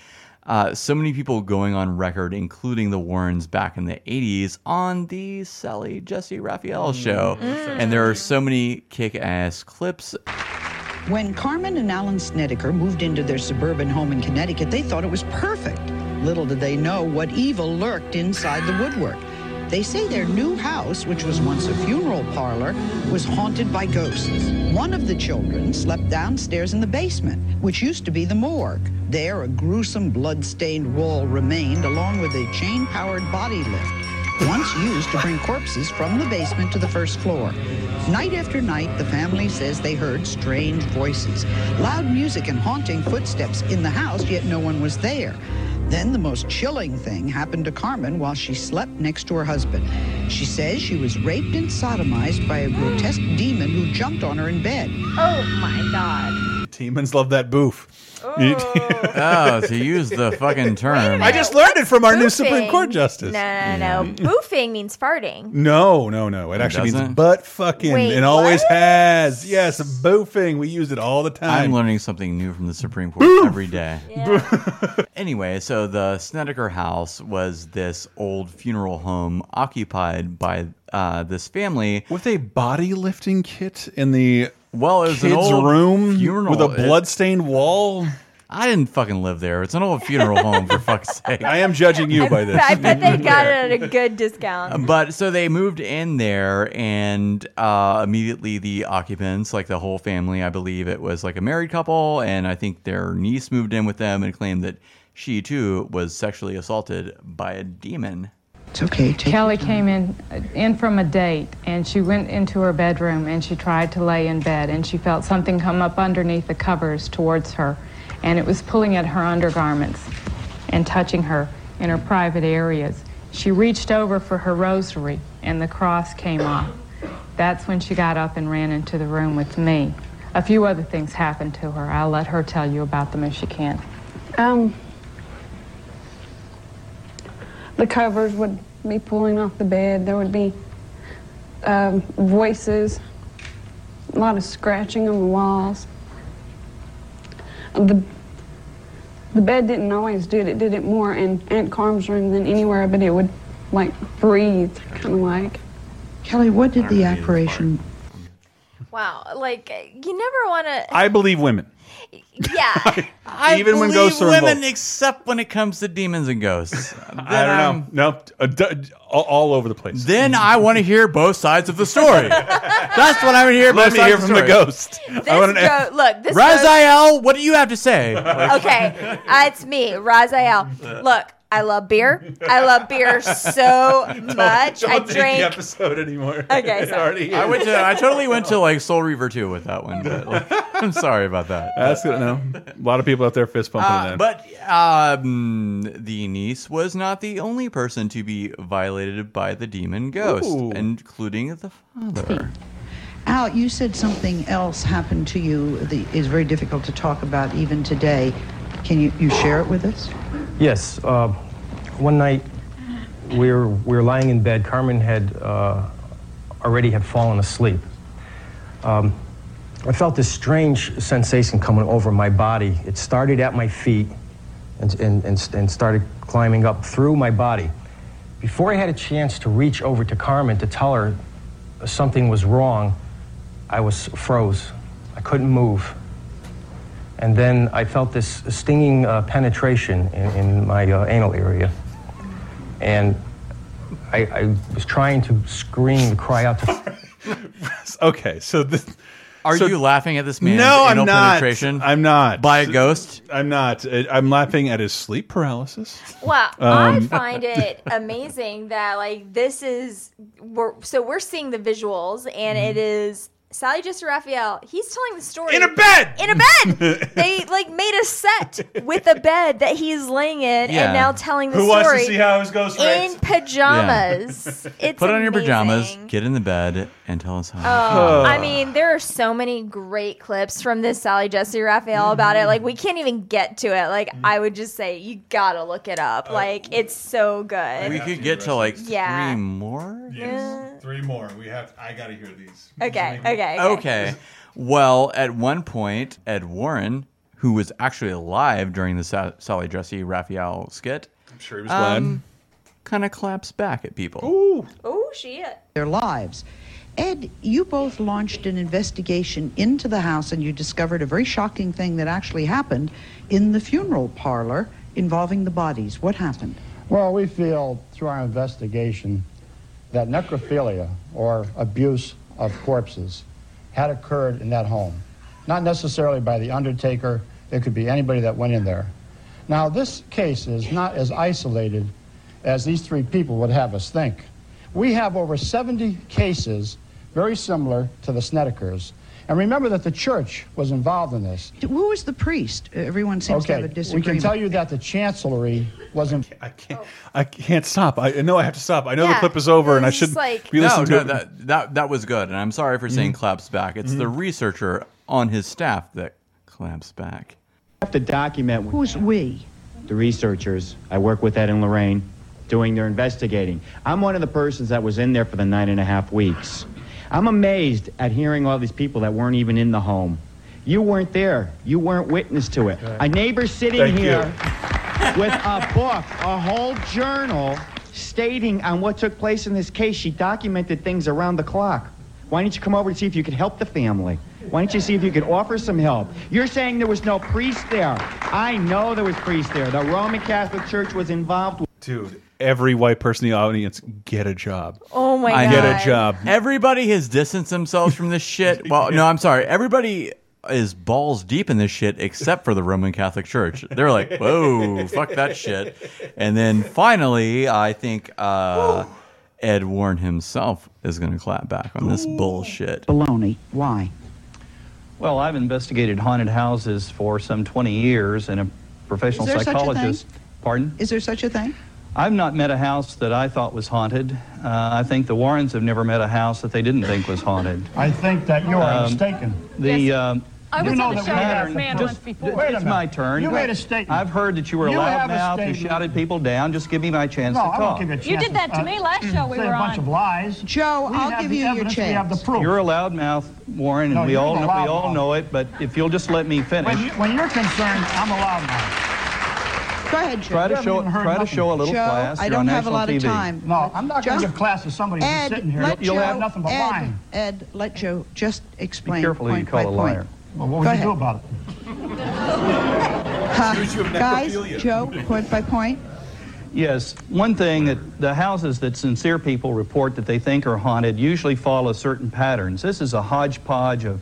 Uh, so many people going on record, including the Warrens back in the 80s, on the Sally Jesse Raphael show.
Mm-hmm.
And there are so many kick ass clips
When Carmen and Alan Snedeker moved into their suburban home in Connecticut, they thought it was perfect. Little did they know what evil lurked inside the woodwork. They say their new house, which was once a funeral parlor, was haunted by ghosts. One of the children slept downstairs in the basement, which used to be the morgue. There, a gruesome blood-stained wall remained along with a chain-powered body lift once used to bring corpses from the basement to the first floor. Night after night, the family says they heard strange voices, loud music, and haunting footsteps in the house, yet no one was there. Then the most chilling thing happened to Carmen while she slept next to her husband. She says she was raped and sodomized by a grotesque demon who jumped on her in bed. Oh my God.
Demons love that boof.
oh, to use the fucking term.
I just learned it from our new Supreme
Boofing.
Court justice.
No, no, no. Boofing means farting.
No, no, no. It,
It
actually means
doesn't?
butt fucking.
Wait,
it always has. Yes, boofing. We use it all the time.
I'm learning something new from the Supreme Court every day. anyway, so the Snedeker house was this old funeral home occupied by uh, this family
with a body lifting kit in the
well, it was an
kids'
old
room
funeral.
with a
It-
bloodstained wall.
I didn't fucking live there. It's an old funeral home for fuck's sake.
I am judging you by this.
I bet they got it at a good discount.
But so they moved in there, and uh, immediately the occupants, like the whole family, I believe it was like a married couple, and I think their niece moved in with them and claimed that she too was sexually assaulted by a demon.
It's okay. Take
Kelly came in in from a date and she went into her bedroom and she tried to lay in bed and she felt something come up underneath the covers towards her and it was pulling at her undergarments and touching her in her private areas. She reached over for her rosary and the cross came off. That's when she got up and ran into the room with me. A few other things happened to her. I'll let her tell you about them if she can. Um,
the covers would be pulling off the bed. There would be um, voices, a lot of scratching on the walls. The the bed didn't always do it. It did it more in Aunt Carm's room than anywhere, but it would like breathe, kind of like.
Kelly, what did the apparition
Wow, like you never want to.
I believe women.
Yeah,
I
Even when
believe
ghosts are
women,
involved.
except when it comes to demons and ghosts.
I don't know. No, uh, d- d- all, all over the place.
Then I want to hear both sides of the story. That's what I want to hear.
Let
both
me
sides
hear
of
from the
story.
ghost.
This want an- go- look, this goes-
Raziel, what do you have to say? Like-
okay, uh, it's me, Raziel. Look, I love beer. I love beer so much. I
the
drank.
episode anymore.
Okay,
It's
sorry.
already
I
here.
went to I totally went to like Soul Reaver 2 with that one. But like, I'm sorry about that.
That's good. No, a lot of people out there fist pumping
Uh,
that.
but um, the niece was not the only person to be violated by the demon ghost,
Ooh.
including the father.
Al, you said something else happened to you that is very difficult to talk about even today. Can you, you share it with us?
Yes. Uh, one night, we were, we were lying in bed. Carmen had uh, already had fallen asleep. Um, I felt this strange sensation coming over my body. It started at my feet and, and, and, and started climbing up through my body. Before I had a chance to reach over to Carmen to tell her something was wrong, I was froze. I couldn't move. And then I felt this stinging uh, penetration in, in my uh, anal area. And I, I was trying to scream, cry out to
okay, so this.
Are you laughing at this man's
No, I'm
anal
not.
penetration?
I'm not.
By a ghost?
I'm not. I- I'm laughing at his sleep paralysis.
Well, I
Um,
find it amazing that like this is we're so we're seeing the visuals and it
Mm-hmm.
is Sally Jester Raphael. He's telling the story in a
bed.
In a bed. they like made a set with a bed that he's laying in
Yeah.
and now telling the
Who
story.
wants to see how his ghost
in
raped?
pajamas. It's
Put on your
amazing.
pajamas, get in the bed, and tell us how.
Oh, I mean, there are so many great clips from this Sally Jesse Raphael about it. Like, we can't even get to it. Like,
Mm-hmm.
I would just say you gotta look it up. like, it's so good.
Uh, we could get to like
Yeah.
three more.
Yes, three more. We have. I gotta hear these.
Okay, okay,
Okay. Well, at one point, Ed Warren, who was actually alive during the Sa- Sally Jesse Raphael skit, I'm
sure he
was glad.
kind of claps back at people.
Oh, shit.
their lives. Ed, you both launched an investigation into the house and you discovered a very shocking thing that actually happened in the funeral parlor involving the bodies. What happened?
Well, we feel through our investigation that necrophilia or abuse of corpses had occurred in that home. Not necessarily by the undertaker, it could be anybody that went in there. Now, this case is not as isolated as these three people would have us think. We have over 70 cases very similar to the Snedekers. And remember that the church was involved in this.
Who was the priest? Everyone seems to
Okay,
have a
we
disagreement.
can tell you that the chancellery was in. I can't.
I can't stop. I I know I have to stop. I know
Yeah,
the clip is over, and I
it's
should
like-
be
no,
listening
no,
to it.
that, that that was good, and I'm sorry for saying
Mhm.
claps back. It's the researcher on his staff that claps back.
have to document
Who's we?
the researchers. I work with Ed and Lorraine doing their investigating. I'm one of the persons that was in there for the nine and a half weeks. I'm amazed at hearing all these people that weren't even in the home. You weren't there. You weren't witness to it. A neighbor sitting
Thank you.
here with a book, a whole journal stating on what took place in this case. She documented things around the clock. Why didn't you come over and see if you could help the family? Why don't you see if you could offer some help? You're saying there was no priest there. I know there was priest there. The Roman Catholic Church was involved.
Dude, every white person in the audience, get a job.
Oh my
I get a job.
Everybody has distanced themselves from this shit. Well, no, I'm sorry. Everybody is balls deep in this shit except for the Roman Catholic Church. They're like, whoa, fuck that shit. And then finally, I think uh, Ed Warren himself is going to clap back on this bullshit.
Baloney. Why?
Well, I've investigated haunted houses for some 20 years and a professional
Is there such a thing?
psychologist. Pardon?
Is there such a thing?
I've not met a house that I thought was haunted. Uh, I think the Warrens have never met a house that they didn't think was haunted.
I think that you
Um,
are mistaken.
The um,
I was
you
on
know that
the show with that
pattern-
man
just-
once before.
th-
Wait a
It's
minute.
my turn.
You made a statement.
I've heard that you were
You have a
loudmouthed. You
statement.
shouted people down. Just give me my chance
No,
to
I
talk.
won't give you a chance.
did that to
uh,
me last show we
say
were
a bunch
on.
of lies.
Joe,
we
I'll
have
give
the
you your
evidence, We have the
chance.
proof.
You're a loudmouth, Warren, and
No,
we
you're
all
the
know, we all
loudmouth.
know it. But if you'll just let me finish,
When, you, when you're concerned, I'm allowed now.
Go ahead, Joe.
Try to You haven't show- even heard try to nothing. show a little
Joe,
class.
I
You're
don't
on
have a
national
lot of
TV.
time.
No, I'm not gonna
Joe-
give class to somebody who's
Ed,
sitting here.
Let
You'll
Joe,
have nothing but
Ed,
lying.
Ed, let Joe just explain.
be careful who you
point
call
by
a
point.
liar.
Well, what would
Go
you
ahead.
do about it?
Huh?
Accuse you of
guys,
necrophilia.
Joe, point by point.
Yes, one thing that the houses that sincere people report that they think are haunted usually follow certain patterns. This is a hodgepodge of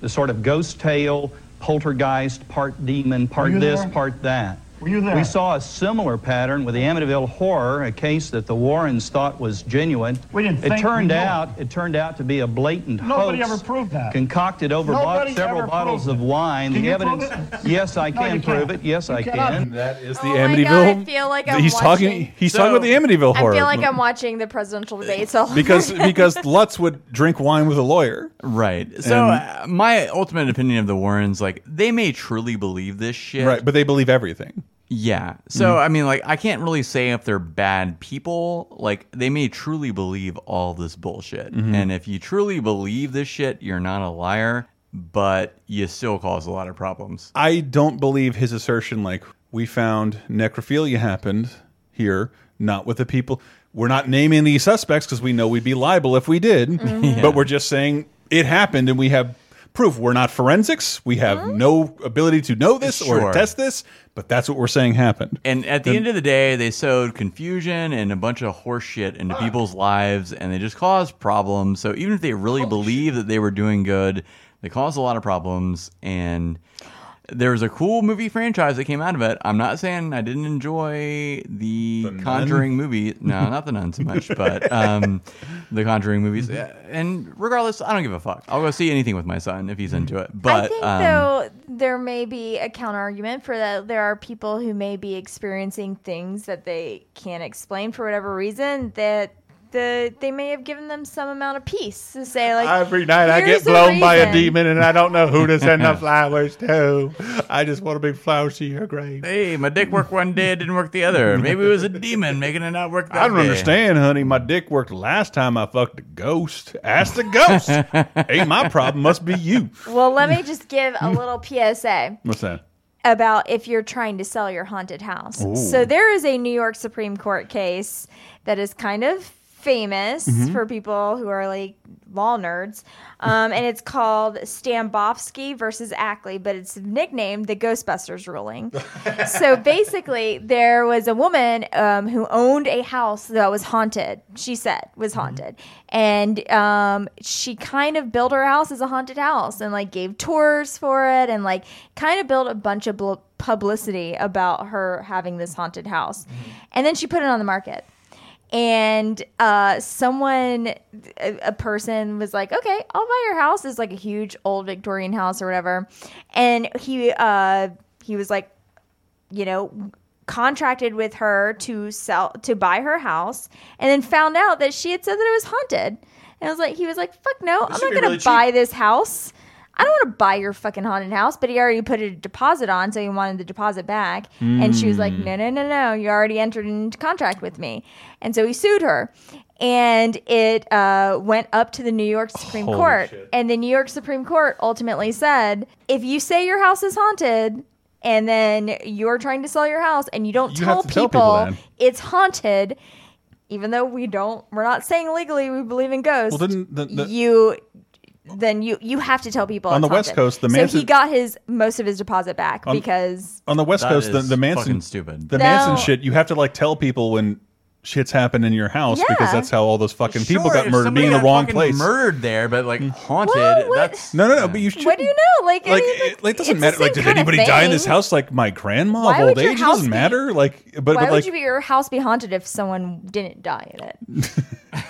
the sort of ghost tale, poltergeist, part demon, part
you
this,
there?
part that.
Were you there?
We saw a similar pattern with the Amityville horror, a case that the Warrens thought was genuine.
We didn't
it
think
turned
we knew.
out it turned out to be a blatant
Nobody
hoax
ever proved that.
concocted over bo-
Nobody
several
ever
bottles
proved
of wine.
Can
the
you prove
evidence Yes, I
No,
can
you
prove
can't.
it. Yes,
You
I
cannot.
can.
That is
the
Oh my God, I Amityville-
feel like I'm
he's
watching-
talking. He's talking about the Amityville
I
horror.
feel like I'm watching the
Uh,
presidential debates all
because
over again.
because Lutz would drink wine with a lawyer.
Right. So uh, my ultimate opinion of the Warrens, like they may truly believe this shit.
Right, but they believe everything.
Yeah. So
Mhm.
I mean, like I can't really say if they're bad people. Like they may truly believe all this bullshit.
Mhm.
And if you truly believe this shit, you're not a liar, but you still cause a lot of problems.
I don't believe his assertion like we found necrophilia happened here, not with the people. We're not naming the suspects because we know we'd be liable if we did,
Mhm.
but we're just saying it happened and we have proof. We're not forensics. We have no ability to know this or
Sure.
test this, but that's what we're saying happened.
And at the end of the day, they sowed confusion and a bunch of horseshit into people's lives, and they just caused problems. So even if they really believe that they were doing good, they caused a lot of problems. And there was a cool movie franchise that came out of it. I'm not saying I didn't enjoy the, Conjuring movie. No, not the nun so much, but um, the Conjuring movies.
Mm-hmm.
And regardless, I don't give a fuck. I'll go see anything with my son if he's into it. But
Mm-hmm. I think
um,
though there may be a counter argument for that. There are people who may be experiencing things that they can't explain for whatever reason that the they may have given them some amount of peace to say like
Every night I
"Here's
get
the
blown by a
reason."
demon and I don't know who to send the flowers to. I just want to bring flowers to your grave.
Hey, my dick worked one day, it didn't work the other. Maybe it was a demon making it not work. That
I don't
day.
understand, honey. My dick worked the last time I fucked a ghost. Ask the ghost. Ain't my problem. Must be you.
Well, let me just give a little PSA
What's that?
about if you're trying to sell your haunted house.
Ooh.
So there is a New York Supreme Court case that is kind of famous
Mhm.
for people who are like law nerds, um, and it's called Stambofsky versus Ackley, but it's nicknamed the Ghostbusters ruling. so basically, there was a woman um, who owned a house that was haunted. She said was haunted, and um, she kind of built her house as a haunted house and like gave tours for it and like kind of built a bunch of bl- publicity about her having this haunted house, and then she put it on the market. And uh, someone, a, a person was like, okay, I'll buy your house. It's like a huge old Victorian house or whatever. And he, uh, he was like, you know contracted with her to sell to buy her house and then found out that she had said that it was haunted and I was like he was like fuck no
This
I'm
should
not
be
gonna
really cheap.
buy this house I don't want to buy your fucking haunted house but he already put a deposit on so he wanted the deposit back and she was like
Hmm.
Mm.
no no no no you already entered into contract with me and so he sued her and it uh, went up to the New York Supreme
Holy
Court
shit.
and the New York Supreme Court ultimately said if you say your house is haunted and then you're trying to sell your house and you don't
You
tell,
have to tell
people,
people that.
it's haunted, even though we don't, we're not saying legally we believe in ghosts.
Well, didn't the- the-
you then you you have to tell people
On
it's
the West
haunted.
Coast, the
so
Manson-
he got his most of his deposit back
On-
because
On the West
That
Coast, the,
is
the Manson
fucking stupid.
The
No.
Manson shit, you have to like tell people when shit's happened in your house because
Yeah.
that's how all those fucking people
Sure,
got
if
murdered,
somebody
being in the
got
wrong
fucking
place. Mm.
Murdered there, but like haunted.
Well, what-
That's
No, no, no. But you should.
what do you know? Like, I
like,
mean,
it, like
it's
doesn't
the
matter. Like, did
same kinda
anybody die in
thing.
this house? Like my grandma
Why
of
would
old
your
age. It
house
doesn't
be-
matter. Like, but
why
but
would
like
you, your house be haunted if someone didn't die in it?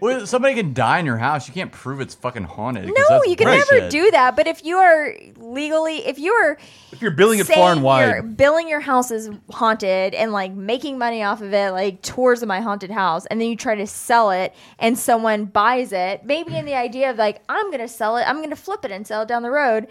well, somebody can die in your house. You can't prove it's fucking haunted. 'cause
No,
that's
you can
bullshit.
never do that. But if you are legally, if you are
if you're billing it
saying
far and
you're
wide.
billing your house is haunted and like making money off of it, like tours of my haunted house, and then you try to sell it and someone buys it, maybe in the idea of like, I'm gonna sell it, I'm gonna flip it and sell it down the road,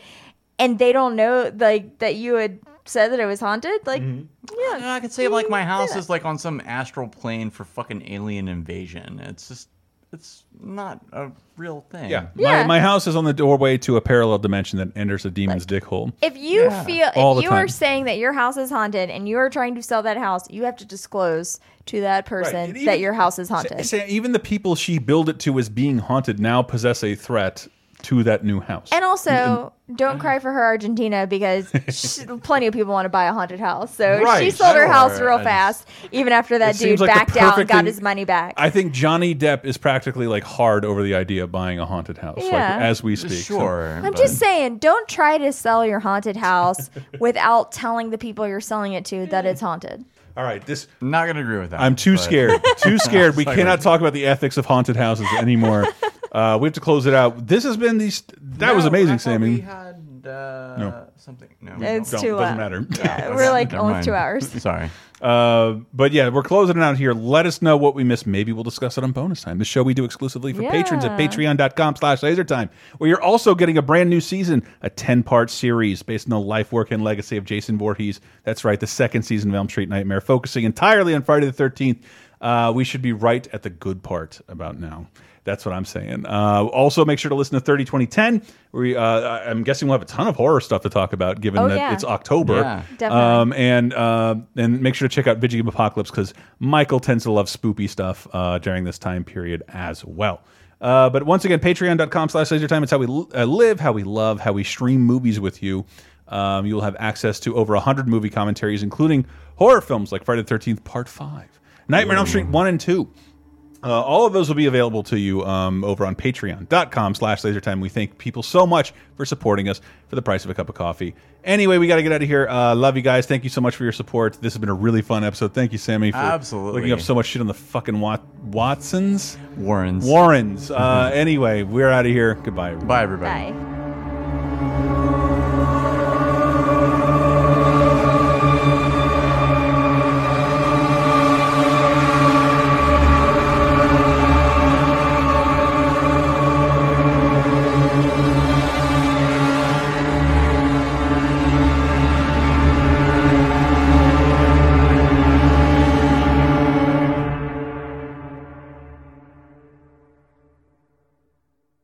and they don't know like that you had said that it was haunted, like
Mm-hmm.
yeah,
I could say like my house is like on some astral plane for fucking alien invasion. It's just, it's not a real thing.
Yeah.
Yeah.
My, my house is on the doorway to a parallel dimension that enters a demon's dick hole.
If you
Yeah.
feel
All the
if you are
time.
saying that your house is haunted and you are trying to sell that house, you have to disclose to that person
and even-
that your house is haunted.
Say, even the people she billed it to as being haunted now possess a threat to that new house.
And also, don't cry for her Argentina because sh plenty of people want to buy a haunted house. So she
Right,
sold her house
sure.
real
I
fast, even after that
It
dude
seems like the
backed out and
perfect
got
thing-
his money back.
I think Johnny Depp is practically like hard over the idea of buying a haunted house,
Yeah.
like as we speak.
Sure,
I'm just saying, don't try to sell your haunted house without telling the people you're selling it to that it's haunted.
All right, this
I'm not gonna agree with that.
I'm too
but-
scared. Too scared. We
Sorry.
cannot talk about the ethics of haunted houses anymore. Uh, we have to close it out. This has been these. That was
No, I
amazing,
thought We
Sammy.
had uh,
No.
something. No, we
It's
don't.
too
doesn't
loud.
matter.
Yeah, we're like
Never
almost
mind.
two hours.
Sorry.
Uh, but yeah, we're closing it out here. Let us know what we missed. Maybe we'll discuss it on bonus time. The show we do exclusively for patrons at
Yeah.
patreon.com slash lasertime, where you're also getting a brand new season, a 10-part series based on the life, work, and legacy of Jason Voorhees. That's right, the second season of Elm Street Nightmare, focusing entirely on Friday the 13th. Uh, we should be right at the good part about now. That's what I'm saying. Uh, also, make sure to listen to 30 2010. We, uh, I- I'm guessing we'll have a ton of horror stuff to talk about, given
Oh,
that
yeah.
it's October.
Yeah. Definitely.
Um, um, and uh, and make sure to check out Video Game Apocalypse because Michael tends to love spoopy stuff uh, during this time period as well. Uh, but once again, patreon.com slash lasertime. It's how we uh, live, how we love, how we stream movies with you. Um, you'll have access to over 100 movie commentaries, including horror films like Friday the 13th, Part 5, Nightmare on Elm Street 1 and 2. Uh, all of those will be available to you um, over on patreon.com slash lasertime. We thank people so much for supporting us for the price of a cup of coffee. Anyway, we got to get out of here. Uh, love you guys. Thank you so much for your support. This has been a really fun episode. Thank you, Sammy, for
Absolutely.
looking up so much shit on the fucking Wat- Watsons?
Warrens. Mm-hmm.
Warrens. Uh, anyway, we're out of here. Goodbye, everybody. Bye,
everybody.
Bye.